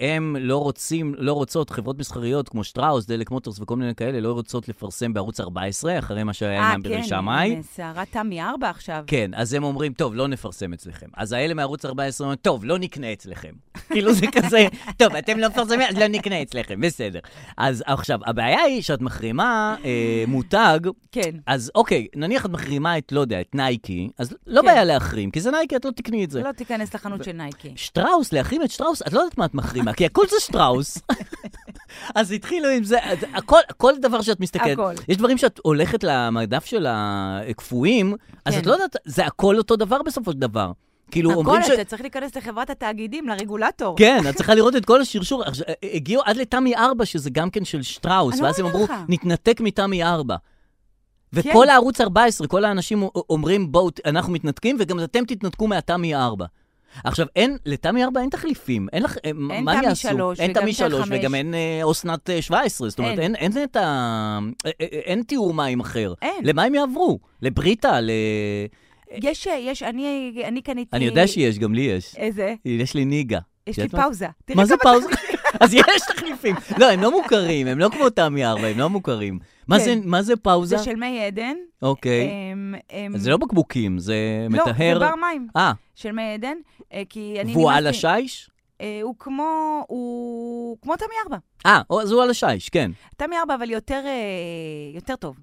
Speaker 2: שהם לא רוצים, לא רוצות, חברות מסחריות כמו שטראוס, דלק מוטורס וכל מיני כאלה, לא רוצות לפרסם בערוץ 14, אחרי מה שהיה עם אמברי שמאי.
Speaker 3: אה, סערת תמי ארבע עכשיו.
Speaker 2: כן, אז הם אומרים, טוב, לא נפרסם אצלכם. אז האלה מערוץ 14 אומרים, טוב, לא נקנה אצלכם. כאילו זה כזה, טוב, אתם לא מפרסמים, אז לא נקנה אצלכם, בסדר. אז עכשיו, הבעיה היא שאת מחרימה אה, מותג,
Speaker 3: כן.
Speaker 2: אז אוקיי, נניח את מחרימה את, לא יודע, את נייקי, אז לא
Speaker 3: כן.
Speaker 2: בעיה להחרים, כי זה נייקי, את לא תקני את זה.
Speaker 3: לא תיכנס לחנות של נייקי.
Speaker 2: שטראוס, להחרים את שטראוס, את לא יודעת מה את מחרימה, כי הכל זה שטראוס. אז התחילו עם זה, אז הכל, כל דבר שאת מסתכלת,
Speaker 3: הכל.
Speaker 2: יש דברים שאת הולכת למדף של הקפואים, אז
Speaker 3: כן.
Speaker 2: את לא יודעת, זה הכל אותו דבר בסופו של דבר. כאילו,
Speaker 3: הכל,
Speaker 2: אומרים ש...
Speaker 3: אתה צריך להיכנס לחברת התאגידים, לרגולטור.
Speaker 2: כן, את צריכה לראות את כל השרשור. עכשיו, אה, הגיעו עד לתמי 4, שזה גם כן של שטראוס,
Speaker 3: אני
Speaker 2: ואז הם
Speaker 3: אומרת
Speaker 2: אמרו,
Speaker 3: לך.
Speaker 2: נתנתק מתמי 4.
Speaker 3: כן.
Speaker 2: וכל הערוץ 14, כל האנשים אומרים, בואו, אנחנו מתנתקים, וגם אתם תתנתקו מהתמי 4. עכשיו, אין, לתמי 4 אין תחליפים, אין לך, אה, מה
Speaker 3: אין
Speaker 2: הם
Speaker 3: תמי
Speaker 2: יעשו?
Speaker 3: שלוש
Speaker 2: אין
Speaker 3: וגם
Speaker 2: תמי
Speaker 3: תל
Speaker 2: 3
Speaker 3: חמש.
Speaker 2: וגם אין אה, אסנת אה, 17, זאת אומרת, אין,
Speaker 3: אין.
Speaker 2: אין, את ה... אה, אה, אין תיאור מים אחר.
Speaker 3: אין.
Speaker 2: למה הם יעברו? לבריטה, ל...
Speaker 3: יש, אה, יש, אני אני קניתי...
Speaker 2: אני יודע שיש, גם לי יש.
Speaker 3: איזה?
Speaker 2: יש לי ניגה.
Speaker 3: יש לי
Speaker 2: יודעת מה?
Speaker 3: פאוזה. תראי
Speaker 2: מה זה
Speaker 3: כמה
Speaker 2: פאוזה? אז יש תחליפים. לא, הם לא מוכרים, הם לא כמו תמי 4, הם לא מוכרים. מה
Speaker 3: כן.
Speaker 2: זה- מה זה פאוזה?
Speaker 3: זה של מי עדן.
Speaker 2: אוקיי.
Speaker 3: אמ, אמ,
Speaker 2: אז זה לא בקבוקים, זה מטהר.
Speaker 3: לא, זה בר מים
Speaker 2: אה,
Speaker 3: של מי עדן, אה, כי אני...
Speaker 2: והוא על
Speaker 3: נמאס לי-
Speaker 2: השיש?
Speaker 3: אה, הוא כמו... הוא כמו תמי ארבע.
Speaker 2: אה, או- אז הוא על השיש, כן.
Speaker 3: תמי ארבע, אבל יותר, אה, יותר טוב.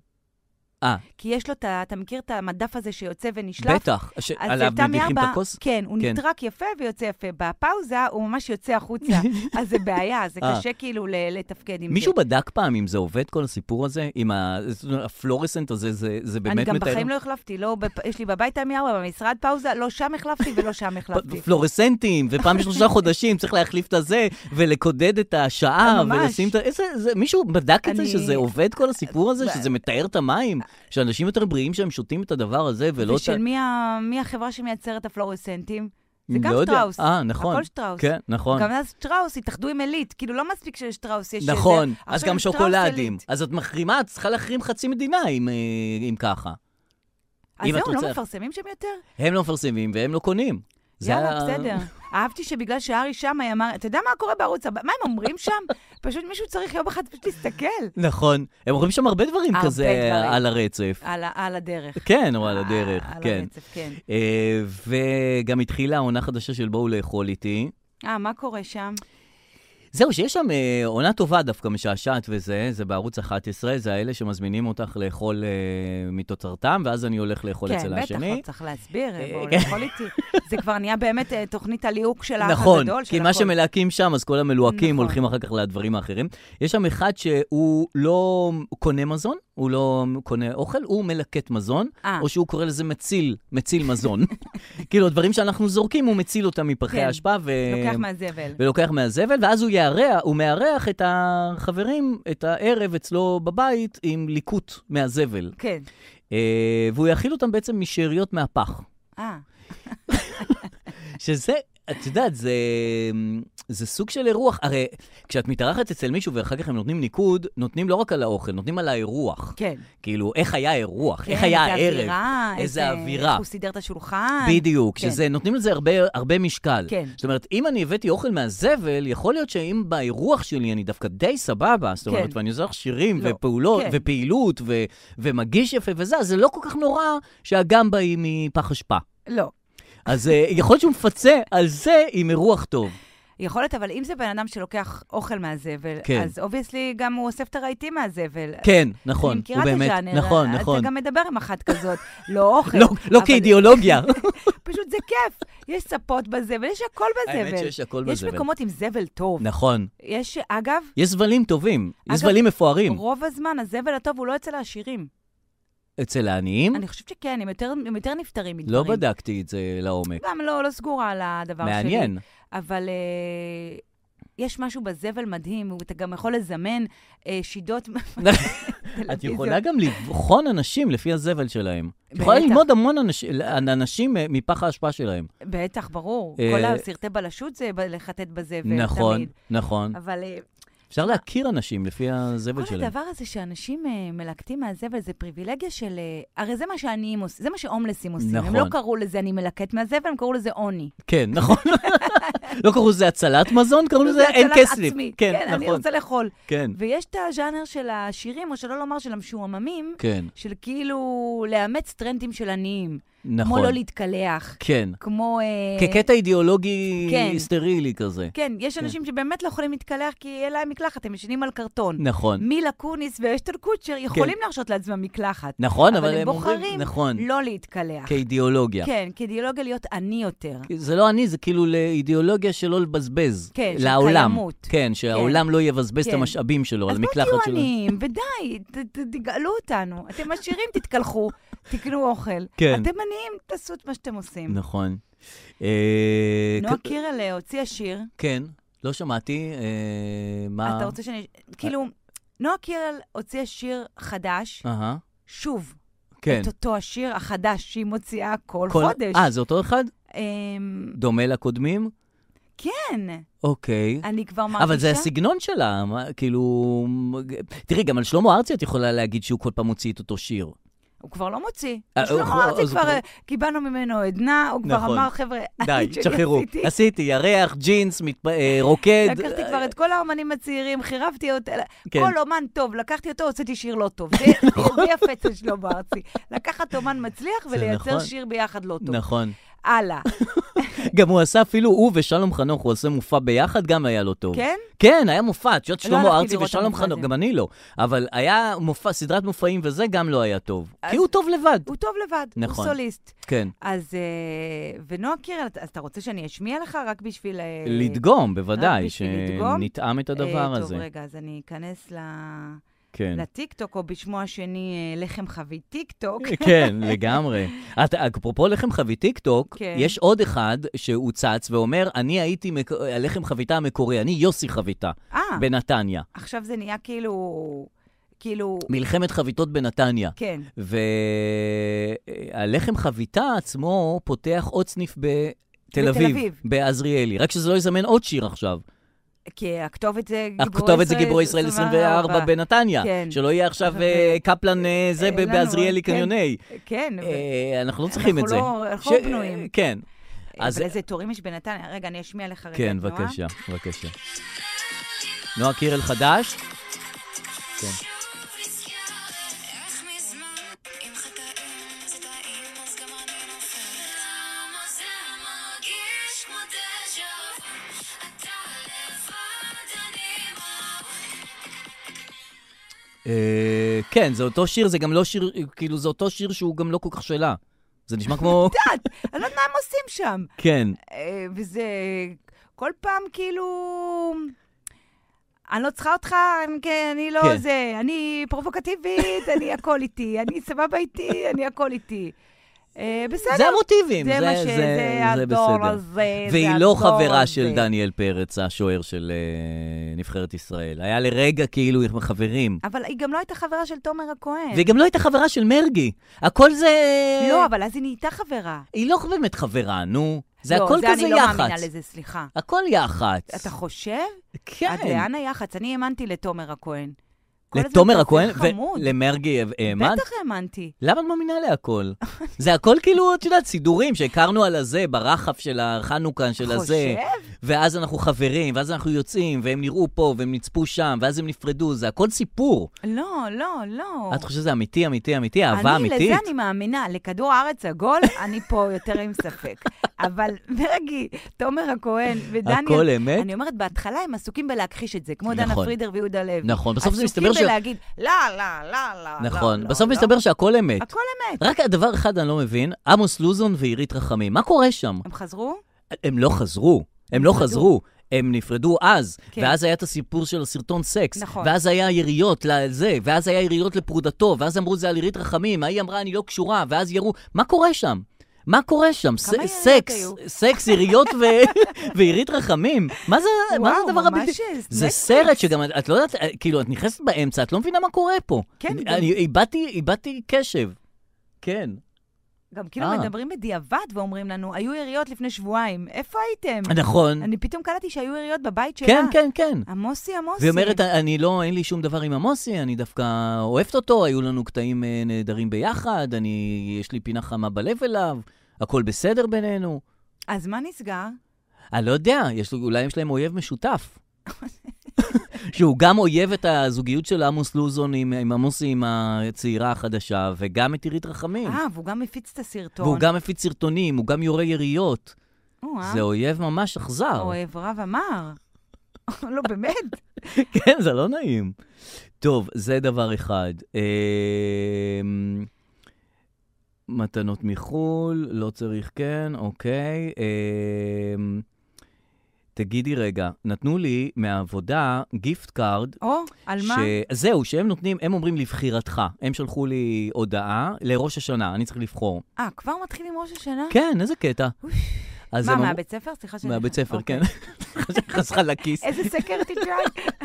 Speaker 2: אה.
Speaker 3: כי יש לו את ה... אתה מכיר את המדף הזה שיוצא ונשלף?
Speaker 2: בטח. ש-
Speaker 3: אז אה,
Speaker 2: עליו
Speaker 3: תמי
Speaker 2: מדיחים את
Speaker 3: ארבע,
Speaker 2: הכוס?
Speaker 3: כן, הוא
Speaker 2: כן.
Speaker 3: נטרק יפה ויוצא יפה. בפאוזה הוא ממש יוצא החוצה. אז זה בעיה, זה
Speaker 2: אה.
Speaker 3: קשה כאילו ל- לתפקד עם
Speaker 2: מישהו
Speaker 3: זה.
Speaker 2: בדק פעם אם זה עובד, כל הסיפור הזה? אם ה- זאת אומרת, הפלורסנט הזה, זה זה
Speaker 3: אני
Speaker 2: באמת
Speaker 3: גם
Speaker 2: מטהר?
Speaker 3: בחיים לא החלפתי, לא, בפ- יש לי בבית תמי ארבע, במשרד פאוזה, לא שם החלפתי ולא שם החלפתי.
Speaker 2: פלורסנטים, ופעם בשלושה חודשים צריך להחליף את הזה, ולקודד את השעה,
Speaker 3: ממש.
Speaker 2: ולשים את ה... איזה... זה... מישהו בדק את זה
Speaker 3: אני-
Speaker 2: שזה עובד כל הסיפור הזה,
Speaker 3: ב-
Speaker 2: שזה מטהר את המים? שאנשים יותר בריאים שהם שותים את הדבר הזה, ולא... את ה-
Speaker 3: ושל מי, ה... מי החברה שמייצרת הפלורסנטים? זה גם
Speaker 2: לא יודע.
Speaker 3: שטראוס.
Speaker 2: אה, נכון.
Speaker 3: הכל שטראוס.
Speaker 2: כן, נכון.
Speaker 3: גם אז שטראוס התאחדו עם עילית, כאילו לא מספיק שלשטראוס יש...
Speaker 2: נכון,
Speaker 3: איזה-
Speaker 2: אז
Speaker 3: עכשיו
Speaker 2: גם
Speaker 3: הם שטראוס
Speaker 2: שוקולדים.
Speaker 3: עילית.
Speaker 2: אז את מחרימה, את צריכה להחרים חצי מדינה אם, אה, אם ככה.
Speaker 3: אז
Speaker 2: אם את
Speaker 3: זהו, לא
Speaker 2: רוצה-
Speaker 3: מפרסמים שם יותר?
Speaker 2: הם לא מפרסמים והם לא קונים. זה
Speaker 3: יאללה,
Speaker 2: ה-
Speaker 3: בסדר. אהבתי שבגלל שארי שם היא אמר, אתה יודע מה קורה בערוץ הבא? מה הם אומרים שם? פשוט מישהו צריך יום אחד פשוט להסתכל
Speaker 2: נכון. הם אומרים שם הרבה דברים
Speaker 3: הרבה
Speaker 2: כזה
Speaker 3: דברים.
Speaker 2: על הרצף.
Speaker 3: על ה- על הדרך. אה,
Speaker 2: כן, או על הדרך,
Speaker 3: על
Speaker 2: כן.
Speaker 3: הרצף, כן.
Speaker 2: אה, וגם התחילה עונה חדשה של בואו לאכול איתי.
Speaker 3: אה, מה קורה שם?
Speaker 2: זהו, שיש שם אה, עונה טובה דווקא, משעשעת וזה, זה בערוץ 11, זה האלה שמזמינים אותך לאכול אה, מתוצרתם, ואז אני הולך לאכול
Speaker 3: כן,
Speaker 2: אצל
Speaker 3: בטח,
Speaker 2: השני.
Speaker 3: לא צריך להסביר,
Speaker 2: אה,
Speaker 3: בואו
Speaker 2: כן.
Speaker 3: לאכול איתי. זה כבר נהיה באמת אה, תוכנית הליהוק של האח
Speaker 2: נכון,
Speaker 3: הגדול, של
Speaker 2: כי מה
Speaker 3: הכל.
Speaker 2: שמלהקים שם, אז כל המלוהקים
Speaker 3: נכון.
Speaker 2: הולכים אחר כך לדברים האחרים. יש שם אחד שהוא לא קונה מזון, הוא לא קונה אוכל, הוא מלקט מזון,
Speaker 3: אה.
Speaker 2: או שהוא קורא לזה מציל, מציל מזון. כאילו, הדברים שאנחנו זורקים, הוא מציל אותם מפחי
Speaker 3: כן.
Speaker 2: האשפה, ו...
Speaker 3: לוקח מהזבל.
Speaker 2: ולוקח מהזבל, ואז הוא יארח, הוא מארח את החברים, את הערב אצלו בבית עם ליקוט מהזבל.
Speaker 3: כן.
Speaker 2: אה, והוא יאכיל אותם בעצם משאריות מהפח.
Speaker 3: אה,
Speaker 2: שזה, את יודעת, זה, זה סוג של אירוח. הרי כשאת מתארחת אצל מישהו ואחר כך הם נותנים ניקוד, נותנים לא רק על האוכל, נותנים על האירוח.
Speaker 3: כן.
Speaker 2: כאילו, איך היה האירוח?
Speaker 3: כן,
Speaker 2: איך היה
Speaker 3: איזה
Speaker 2: הערב?
Speaker 3: אווירה,
Speaker 2: איזה אווירה.
Speaker 3: איך הוא סידר את השולחן.
Speaker 2: בדיוק,
Speaker 3: כן.
Speaker 2: שזה, נותנים לזה הרבה, הרבה משקל.
Speaker 3: כן.
Speaker 2: זאת אומרת, אם אני הבאתי אוכל מהזבל, יכול להיות שאם באירוח שלי אני דווקא די סבבה, זאת אומרת,
Speaker 3: כן.
Speaker 2: ואני עושה לך שירים
Speaker 3: לא,
Speaker 2: ופעולות,
Speaker 3: כן.
Speaker 2: ופעילות, ו, ומגיש יפה וזה, אז זה לא כל כך נורא שהגמבה היא מפח אה, אשפה.
Speaker 3: לא.
Speaker 2: אז אה, יכול להיות שהוא מפצה על זה עם אירוח טוב.
Speaker 3: יכול להיות, אבל אם זה בן אדם שלוקח אוכל מהזבל,
Speaker 2: כן.
Speaker 3: אז אובייסלי גם הוא אוסף את הרהיטים מהזבל.
Speaker 2: כן, נכון,
Speaker 3: אני
Speaker 2: הוא
Speaker 3: מכירה את
Speaker 2: באמת,
Speaker 3: הז'אנר, אה,
Speaker 2: נכון, נכון.
Speaker 3: אתה גם מדבר עם אחת כזאת, לא אוכל.
Speaker 2: לא, לא
Speaker 3: אבל
Speaker 2: כאידיאולוגיה.
Speaker 3: פשוט זה כיף. יש ספות בזבל, יש הכל בזבל.
Speaker 2: האמת שיש הכל
Speaker 3: יש
Speaker 2: בזבל.
Speaker 3: מקומות עם זבל טוב.
Speaker 2: נכון.
Speaker 3: יש, אגב,
Speaker 2: יש זבלים טובים,
Speaker 3: אגב,
Speaker 2: יש זבלים מפוארים.
Speaker 3: רוב הזמן הזבל הטוב הוא לא אצל העשירים.
Speaker 2: אצל העניים?
Speaker 3: אני חושבת שכן, הם יותר, הם יותר נפטרים מדברים.
Speaker 2: Hmm? לא בדקתי את זה לעומק.
Speaker 3: גם לא, לא סגורה על הדבר שלי.
Speaker 2: מעניין.
Speaker 3: אבל אה, יש משהו בזבל מדהים, ואתה גם יכול לזמן אה, שידות
Speaker 2: את
Speaker 3: טלוויזיות.
Speaker 2: יכולה גם לבחון אנשים לפי הזבל שלהם. את יכולה
Speaker 3: בטח.
Speaker 2: ללמוד המון אנשים- על אנשים אה, מפח האשפה שלהם.
Speaker 3: בטח, ברור.
Speaker 2: אה,
Speaker 3: כל הסרטי בלשות זה ב- לחטט בזבל
Speaker 2: נכון,
Speaker 3: תמיד.
Speaker 2: נכון.
Speaker 3: אבל אה,
Speaker 2: אפשר להכיר אנשים לפי הזבל
Speaker 3: כל
Speaker 2: שלהם.
Speaker 3: הדבר הזה שאנשים אה, מלקטים מהזבל זה פריבילגיה של... אה, הרי זה מה שעניים עושים, זה מה שהומלסים עושים. הם לא
Speaker 2: נכון.
Speaker 3: קראו לזה אני מלקט מהזבל, הם קראו לזה עוני.
Speaker 2: כן, נכון. לא קראו לזה הצלת מזון, קראו לזה אין
Speaker 3: הצלת
Speaker 2: כסף.
Speaker 3: עצמי.
Speaker 2: כן,
Speaker 3: אני
Speaker 2: נכון.
Speaker 3: רוצה לאכול.
Speaker 2: כן,
Speaker 3: ויש את הז'אנר של השירים, או שלא לומר של המשועממים,
Speaker 2: כן,
Speaker 3: של כאילו לאמץ טרנדים של עניים. כמו
Speaker 2: נכון.
Speaker 3: לא להתקלח,
Speaker 2: כן.
Speaker 3: כמו... אה,
Speaker 2: כקטע אידיאולוגי
Speaker 3: כן.
Speaker 2: סטרילי כזה.
Speaker 3: כן, יש אנשים שבאמת לא יכולים להתקלח כי אין להם מקלחת, הם ישנים על קרטון.
Speaker 2: נכון. כן.
Speaker 3: מילה קוניס ואשתל קוצ'ר יכולים להרשות לעצמם מקלחת.
Speaker 2: נכון, אבל
Speaker 3: הם
Speaker 2: הם אומרים...
Speaker 3: בוחרים
Speaker 2: נכון,
Speaker 3: לא להתקלח.
Speaker 2: כאידיאולוגיה.
Speaker 3: כן, כאידיאולוגיה להיות עני יותר.
Speaker 2: זה לא אני, זה כאילו לאידיאולוגיה שלא לבזבז.
Speaker 3: כן, של
Speaker 2: לעולם.
Speaker 3: קיימות.
Speaker 2: כן, שהעולם לא יבזבז את
Speaker 3: כן.
Speaker 2: המשאבים שלו על
Speaker 3: אז בואו
Speaker 2: המקלחת
Speaker 3: תהיו
Speaker 2: שלו.
Speaker 3: עניים, ודי, ת- ת- תגאלו אותנו. אתם עשירים, תתקלחו, תקנו אוכל.
Speaker 2: כן.
Speaker 3: אתם עניים, תעשו את מה שאתם עושים.
Speaker 2: נכון. אה,
Speaker 3: נועה
Speaker 2: כ-
Speaker 3: קירל אה, הוציאה שיר,
Speaker 2: כן, לא שמעתי. אה, מה...
Speaker 3: אתה רוצה שאני... כאילו, נועה קירל הוציאה שיר חדש,
Speaker 2: אהה,
Speaker 3: שוב,
Speaker 2: כן.
Speaker 3: את אותו השיר החדש שהיא מוציאה כל
Speaker 2: כל-
Speaker 3: חודש.
Speaker 2: אה, זה אותו אחד?
Speaker 3: אמ,
Speaker 2: דומה לקודמים?
Speaker 3: כן,
Speaker 2: אוקיי.
Speaker 3: אני כבר מרגישה...
Speaker 2: אבל זה הסגנון שלה, מה- כאילו... תראי, גם על שלמה ארצי את יכולה להגיד שהוא כל פעם מוציא את אותו שיר.
Speaker 3: הוא כבר לא מוציא.
Speaker 2: אה,
Speaker 3: שלמה
Speaker 2: הוא-
Speaker 3: ארצי
Speaker 2: אז הוא כבר-
Speaker 3: כבר, אה, קיבלנו ממנו עדנה, הוא כבר
Speaker 2: נכון.
Speaker 3: אמר, חבר'ה,
Speaker 2: די,
Speaker 3: אני שלי
Speaker 2: תשחררו.
Speaker 3: עשיתי.
Speaker 2: עשיתי ירח, ג'ינס, מתפ- אה, רוקד.
Speaker 3: לקחתי כבר את כל האומנים הצעירים, חירבתי אותה,
Speaker 2: כן.
Speaker 3: כל אומן טוב, לקחתי אותו, הוצאתי שיר לא טוב. זה- זה יפה אצל שלמה ארצי. לקחת אומן מצליח ולייצר
Speaker 2: נכון.
Speaker 3: שיר ביחד לא טוב.
Speaker 2: נכון.
Speaker 3: הלאה.
Speaker 2: גם הוא עשה אפילו, הוא ושלום חנוך, הוא עושה מופע ביחד, גם היה לו טוב.
Speaker 3: כן?
Speaker 2: כן, היה מופע, את יודעת,
Speaker 3: לא
Speaker 2: שלמה
Speaker 3: הלכתי
Speaker 2: ארצי
Speaker 3: לראות את
Speaker 2: ושלום
Speaker 3: המופע
Speaker 2: חנוך,
Speaker 3: הזה.
Speaker 2: גם אני לא. אבל היה מופע, סדרת מופעים וזה גם לא היה טוב. כי הוא טוב לבד.
Speaker 3: הוא טוב לבד, הוא
Speaker 2: נכון.
Speaker 3: סוליסט.
Speaker 2: כן.
Speaker 3: אז, אה, ונועה קירל, אז אתה רוצה שאני אשמיע לך רק בשביל... אה,
Speaker 2: לדגום, בוודאי,
Speaker 3: בשביל לדגום?
Speaker 2: שנטעם את הדבר
Speaker 3: אה,
Speaker 2: הזה.
Speaker 3: טוב, רגע, אז אני אכנס ל-
Speaker 2: כן.
Speaker 3: לטיקטוק, או בשמו השני, אה, לחם חבי טיקטוק.
Speaker 2: כן, לגמרי. את- אפרופו לחם חבית טיקטוק,
Speaker 3: כן.
Speaker 2: יש עוד אחד שהוא צץ ואומר, אני הייתי מק- הלחם חביתה המקורי, אני יוסי חביתה,
Speaker 3: אה,
Speaker 2: בנתניה.
Speaker 3: עכשיו זה נהיה כאילו... כאילו...
Speaker 2: מלחמת חביתות בנתניה.
Speaker 3: כן.
Speaker 2: והלחם חביתה עצמו פותח עוד סניף בתל
Speaker 3: בתל
Speaker 2: אביב,
Speaker 3: אביב.
Speaker 2: בעזריאלי. רק שזה לא יזמן עוד שיר עכשיו.
Speaker 3: כי הכתובת זה גיבורי ישראל.
Speaker 2: הכתובת זה גיבורי ישראל 24 בנתניה.
Speaker 3: כן.
Speaker 2: שלא יהיה עכשיו אה, קפלן אה, זה
Speaker 3: אין לנו,
Speaker 2: בעזריאלי
Speaker 3: כן.
Speaker 2: קניוני.
Speaker 3: כן, ו-
Speaker 2: אה, אנחנו לא צריכים את זה.
Speaker 3: אנחנו לא- אנחנו
Speaker 2: ש-
Speaker 3: לא בנויים.
Speaker 2: כן.
Speaker 3: אבל
Speaker 2: אז
Speaker 3: איזה תורים יש בנתניה. רגע, אני אשמיע לך רגע את
Speaker 2: כן,
Speaker 3: נועה.
Speaker 2: בבקשה, בבקשה. נועה קירל חדש? אה, כן, זה אותו שיר, זה גם לא שיר, כאילו, זה אותו שיר שהוא גם לא כל כך שלה. זה נשמע כמו...
Speaker 3: אני לא יודעת מה הם עושים שם.
Speaker 2: כן,
Speaker 3: אה, וזה כל פעם כאילו... אני לא צריכה אותך, אני- כן, אני לא
Speaker 2: כן.
Speaker 3: זה, אני פרובוקטיבית, אני הכל איתי, אני סבבה איתי, אני הכל איתי. אה, בסדר.
Speaker 2: זה המוטיבים,
Speaker 3: זה מה
Speaker 2: זה-
Speaker 3: ש-
Speaker 2: זה-
Speaker 3: זה
Speaker 2: זה
Speaker 3: הדור
Speaker 2: בסדר.
Speaker 3: הזה, זה
Speaker 2: והיא לא
Speaker 3: הדור
Speaker 2: חברה
Speaker 3: הזה.
Speaker 2: של דניאל פרץ, השוער של אה, נבחרת ישראל. היה לרגע כאילו הם חברים.
Speaker 3: אבל היא גם לא הייתה חברה של תומר הכהן.
Speaker 2: והיא גם לא הייתה חברה של מרגי. הכל זה...
Speaker 3: אה. לא, אבל אז היא נהייתה חברה.
Speaker 2: היא לא באמת חברה, נו. זה
Speaker 3: לא,
Speaker 2: הכל כזה
Speaker 3: זה אני לא מאמינה
Speaker 2: יח"צ.
Speaker 3: לזה, סליחה.
Speaker 2: הכל יח"צ.
Speaker 3: אתה חושב?
Speaker 2: כן.
Speaker 3: עד לאן היח"צ? אני האמנתי לתומר הכהן. כל הזמן
Speaker 2: לתומר
Speaker 3: כזה
Speaker 2: הכהן
Speaker 3: חמוד.
Speaker 2: ולמרגי האמנת?
Speaker 3: בטח האמנתי.
Speaker 2: למה את מאמינה להכל? זה הכל כאילו, את יודעת, סידורים שהכרנו על הזה, ברחף של החנוכה, של הזה.
Speaker 3: חושב?
Speaker 2: ואז אנחנו חברים, ואז אנחנו יוצאים, והם נראו פה, והם נצפו שם, ואז הם נפרדו, זה הכל סיפור.
Speaker 3: לא, לא, לא.
Speaker 2: את חושבת שזה אמיתי, אמיתי, אמיתי, אהבה
Speaker 3: אני,
Speaker 2: אמיתית?
Speaker 3: לזה אני מאמינה. לכדור הארץ עגול, אני פה יותר עם ספק. אבל מרגי, תומר הכהן ודניאל...
Speaker 2: הכל אמת?
Speaker 3: אני אומרת, בהתחלה הם עסוקים בלהכחיש את זה, כמו דנה
Speaker 2: נכון.
Speaker 3: פרידר ויהודה לוי.
Speaker 2: נכון, בסוף זה מסתבר ש-
Speaker 3: עסוקים בלהגיד, לא, לא, לא, לא.
Speaker 2: נכון.
Speaker 3: לא,
Speaker 2: בסוף
Speaker 3: לא."
Speaker 2: מסתבר שהכל אמת.
Speaker 3: הכל אמת.
Speaker 2: רק דבר אחד אני לא מבין, עמוס לוזון ועירית רחמים, מה קורה שם?
Speaker 3: הם חזרו?
Speaker 2: הם לא חזרו, הם לא חזרו. הם נפרדו אז,
Speaker 3: כן.
Speaker 2: ואז היה את הסיפור של הסרטון סקס,
Speaker 3: נכון.
Speaker 2: ואז היה יריות לזה, ואז היה יריות לפרודתו, ואז אמרו זה על עירית רחמים, ההיא אמרה אני לא קשורה, ואז ירו, מה קורה שם? מה קורה שם? ס-
Speaker 3: יריות
Speaker 2: סקס,
Speaker 3: היו?
Speaker 2: סקס, יריות ו... ועירית רחמים. מה זה, מה זה
Speaker 3: וואו,
Speaker 2: הדבר
Speaker 3: ממש
Speaker 2: הבלתי... זה
Speaker 3: נטפליקס.
Speaker 2: סרט שגם, את- את לא יודעת, אה, כאילו, את נכנסת באמצע, את לא מבינה מה קורה פה.
Speaker 3: כן,
Speaker 2: אני-
Speaker 3: גם-
Speaker 2: אני איבדתי, איבדתי קשב. כן.
Speaker 3: גם כאילו
Speaker 2: אה.
Speaker 3: מדברים בדיעבד ואומרים לנו, היו יריות לפני שבועיים, איפה הייתם?
Speaker 2: נכון.
Speaker 3: אני פתאום קלטתי שהיו יריות בבית שלה.
Speaker 2: כן, כן, כן.
Speaker 3: עמוסי, עמוסי.
Speaker 2: והיא אומרת, אני לא, אין לי שום דבר עם עמוסי, אני דווקא אוהבת אותו, היו לנו קטעים אה, נהדרים ביחד, אני, יש לי פינה חמה בלב אליו, הכל בסדר בינינו.
Speaker 3: אז מה נסגר?
Speaker 2: אני לא יודע, יש, לו- אולי יש להם אויב משותף. שהוא גם אויב את הזוגיות של עמוס לוזון עם, עם עמוסי, עם הצעירה החדשה, וגם את עירית רחמים.
Speaker 3: אה, נכון. והוא גם מפיץ את הסרטון.
Speaker 2: כן. והוא גם מפיץ סרטונים, הוא גם יורה יריות.
Speaker 3: או, אה,
Speaker 2: זה אויב ממש אכזר.
Speaker 3: אוהב רב אמר. לא, באמת?
Speaker 2: כן, זה לא נעים. טוב, זה דבר אחד. אמ, מתנות מחו"ל, לא צריך, כן, אוקיי. אמ, תגידי רגע, נתנו לי מהעבודה גיפט קארד.
Speaker 3: או, על מה?
Speaker 2: זהו, שהם נותנים, הם אומרים לבחירתך. הם שלחו לי הודעה לראש השנה, אני צריך לבחור.
Speaker 3: אה, כבר מתחיל עם ראש השנה?
Speaker 2: כן, איזה קטע. אז
Speaker 3: מה,
Speaker 2: הם אמרו-
Speaker 3: מהבית ספר? סליחה שאני...
Speaker 2: מהבית ספר,
Speaker 3: אוקיי.
Speaker 2: כן. נכנס לך לכיס.
Speaker 3: איזה סקר תג'אק.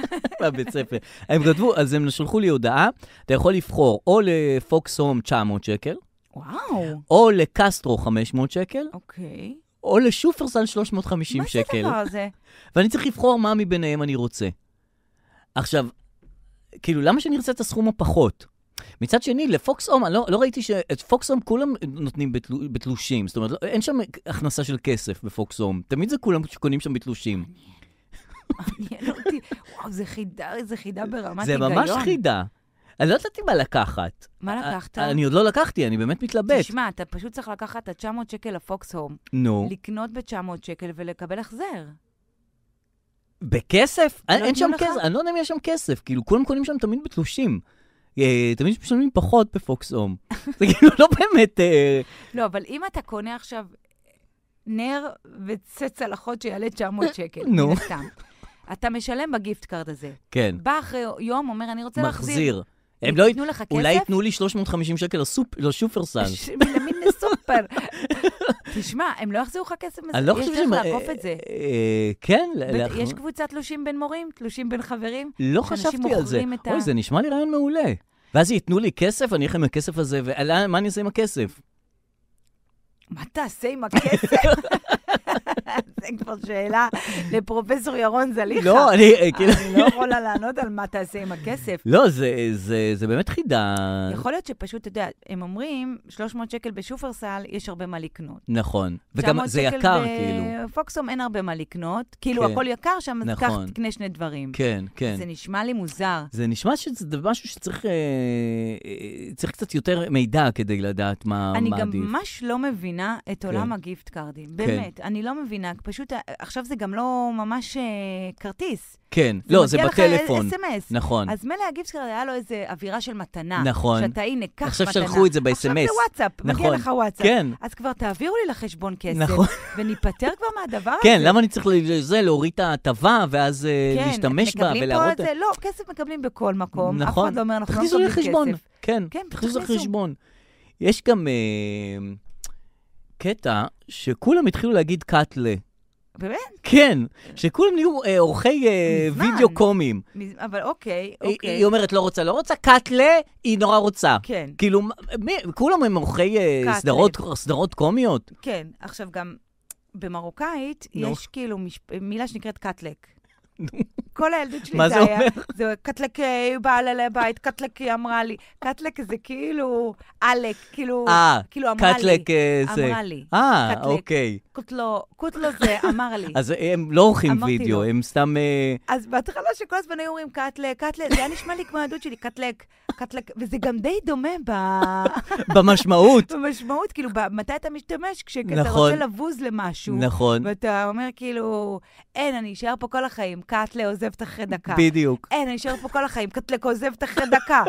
Speaker 2: בבית ספר. הם כתבו, אז הם שלחו לי הודעה, אתה יכול לבחור או לפוקס הום 900 שקל,
Speaker 3: וואו,
Speaker 2: או לקסטרו 500 שקל,
Speaker 3: אוקיי.
Speaker 2: או לשופרסל 350
Speaker 3: מה
Speaker 2: שקל,
Speaker 3: זה הדבר הזה?
Speaker 2: ואני צריך לבחור מה מביניהם אני רוצה. עכשיו, כאילו, למה שאני ארצה את הסכום הפחות? מצד שני, לפוקס הום, אני לא, לא ראיתי שאת פוקס הום כולם נותנים בתלו, בתלושים. זאת אומרת, לא, אין שם הכנסה של כסף בפוקס הום. תמיד זה כולם שקונים שם בתלושים.
Speaker 3: מעניין אותי. וואו, זה חידה, זה חידה ברמת
Speaker 2: זה
Speaker 3: היגיון.
Speaker 2: ממש חידה. אני לא ידעתי מה לקחת.
Speaker 3: מה לקחת?
Speaker 2: אני עוד לא לקחתי, אני באמת מתלבט.
Speaker 3: תשמע, אתה פשוט צריך לקחת את ה-900 שקל לפוקס הום,
Speaker 2: נו,
Speaker 3: לקנות ב-900 שקל ולקבל החזר.
Speaker 2: בכסף?
Speaker 3: לא
Speaker 2: אין אין שם
Speaker 3: נתנו לך?
Speaker 2: כסף, אני לא יודע אם יש שם כסף. כאילו, כולם קונים שם תמיד בתלושים. אה, תמיד משלמים פחות בפוקס הום. זה כאילו לא באמת... אה,
Speaker 3: לא, אבל אם אתה קונה עכשיו נר וצא צלחות שיעלה 900 שקל,
Speaker 2: נו.
Speaker 3: מן הסתם, אתה משלם בגיפט קארד הזה.
Speaker 2: כן,
Speaker 3: בא אחרי יום, אומר, אני רוצה להחזיר.
Speaker 2: מחזיר. הם לא... ית-
Speaker 3: ייתנו לך
Speaker 2: אולי
Speaker 3: כסף?
Speaker 2: ייתנו לי 350 שקל לסופ- לשופרסל.
Speaker 3: ש- למין סופר. תשמע, הם לא יחזירו לך כסף מזה.
Speaker 2: אני לא חושב
Speaker 3: יש
Speaker 2: שהם-
Speaker 3: דרך לעקוף את זה.
Speaker 2: אה, אה, כן, ל-
Speaker 3: בטח,
Speaker 2: לאחר-
Speaker 3: יש קבוצת תלושים בין מורים, תלושים בין חברים.
Speaker 2: לא
Speaker 3: שאנשים
Speaker 2: חשבתי על זה.
Speaker 3: מוכרים את ה-
Speaker 2: אוי, זה נשמע לי רעיון מעולה. ואז ייתנו לי כסף, אני אלך עם הכסף הזה, ומה אני אעשה עם הכסף?
Speaker 3: מה תעשה עם הכסף? זה כבר שאלה לפרופסור ירון זליכה.
Speaker 2: לא, אני... אה, כאילו...
Speaker 3: אני לא יכולה לענות על מה תעשה עם הכסף.
Speaker 2: לא, זה, זה, זה באמת חידה.
Speaker 3: יכול להיות שפשוט, אתה יודע, הם אומרים, 300 שקל בשופרסל, יש הרבה מה לקנות.
Speaker 2: נכון. וגם
Speaker 3: 900
Speaker 2: זה
Speaker 3: שקל
Speaker 2: יקר, כאילו.
Speaker 3: בפוקסום אין הרבה מה לקנות. כאילו,
Speaker 2: כן.
Speaker 3: הכל יקר שם, אז קח,
Speaker 2: נכון.
Speaker 3: תקנה שני דברים.
Speaker 2: כן, כן.
Speaker 3: זה נשמע לי מוזר.
Speaker 2: זה נשמע שזה משהו שצריך אה, אה, צריך קצת יותר מידע כדי לדעת מה
Speaker 3: אני
Speaker 2: מה
Speaker 3: גם
Speaker 2: עדיף.
Speaker 3: ממש לא מבינה את עולם
Speaker 2: אה, כן.
Speaker 3: הגיפט קארדים. באמת, אני לא מבינה. פשוט, אה, עכשיו זה גם לא ממש אה, כרטיס.
Speaker 2: כן, לא, זה בטלפון.
Speaker 3: מגיע לך אס.אם.אס.
Speaker 2: נכון.
Speaker 3: אז מילא הגיפט קארד היה לו איזו אווירה של מתנה.
Speaker 2: נכון.
Speaker 3: שאתה, הנה, קח מתנה.
Speaker 2: עכשיו שלחו את זה
Speaker 3: עכשיו
Speaker 2: ב-אס.אם.אס.
Speaker 3: זה וואטסאפ, מגיע
Speaker 2: נכון.
Speaker 3: לך וואטסאפ.
Speaker 2: כן.
Speaker 3: אז כבר תעבירו לי לחשבון כסף.
Speaker 2: נכון.
Speaker 3: וניפטר כבר מהדבר
Speaker 2: כן,
Speaker 3: הזה.
Speaker 2: למה אני צריך ל- זה, להוריד את ההטבה, ואז אה,
Speaker 3: כן,
Speaker 2: להשתמש בה
Speaker 3: מקבלים פה
Speaker 2: ולהראות...
Speaker 3: את זה, לא, כסף מקבלים בכל מקום. אף
Speaker 2: נכון.
Speaker 3: אחד לא אומר, אנחנו לא
Speaker 2: תכניסו
Speaker 3: מקבלים
Speaker 2: לי
Speaker 3: כסף.
Speaker 2: חשבון. כן,
Speaker 3: כן,
Speaker 2: תכניסו
Speaker 3: תכניסו.
Speaker 2: לחשבון. יש גם אה, קטע שכולם התחילו להגיד קאטלה.
Speaker 3: באמת?
Speaker 2: כן, שכולם נהיו אה, עורכי אה,
Speaker 3: מזמן.
Speaker 2: וידאו קומיים.
Speaker 3: מז- אבל אוקיי,
Speaker 2: היא-
Speaker 3: אוקיי.
Speaker 2: היא אומרת לא רוצה, לא רוצה, קאטלה, היא נורא רוצה.
Speaker 3: כן.
Speaker 2: כאילו, מי, כולם הם עורכי אה,
Speaker 3: קאטלה.
Speaker 2: סדרות, סדרות קומיות.
Speaker 3: כן, עכשיו גם במרוקאית
Speaker 2: נו.
Speaker 3: יש כאילו משפ... מילה שנקראת קטלק. כל הילדות שלי
Speaker 2: מה
Speaker 3: זה
Speaker 2: זה
Speaker 3: היה,
Speaker 2: אומר?
Speaker 3: זה קטלקי, באה אליי לבית, קטלקי אמרה לי. קטלק זה כאילו עלק, כאילו,
Speaker 2: אה,
Speaker 3: כאילו אמרה לי.
Speaker 2: קאטלק אה, זה.
Speaker 3: אמרה לי.
Speaker 2: אה,
Speaker 3: קאטלק.
Speaker 2: אוקיי.
Speaker 3: קוטלו, קוטלו זה אמר לי.
Speaker 2: אז הם לא עורכים
Speaker 3: אמרתי
Speaker 2: וידאו,
Speaker 3: לו.
Speaker 2: הם סתם... אה,
Speaker 3: אז בהתחלה שכל הזמן היו אומרים קטלק, קטלק, זה היה נשמע לי כמו הילדות שלי, קטלק, קטלק, וזה גם די דומה ב-
Speaker 2: במשמעות.
Speaker 3: במשמעות, כאילו, ב- מתי אתה משתמש? כשאתה
Speaker 2: נכון.
Speaker 3: רוצה לבוז למשהו.
Speaker 2: נכון,
Speaker 3: ואתה אומר כאילו, אין, אני אשאר פה כל החיים, קאטלה עוזבת אחרי דקה.
Speaker 2: בדיוק.
Speaker 3: אין, אני אשאר פה כל החיים, קטלק עוזבת אחרי דקה.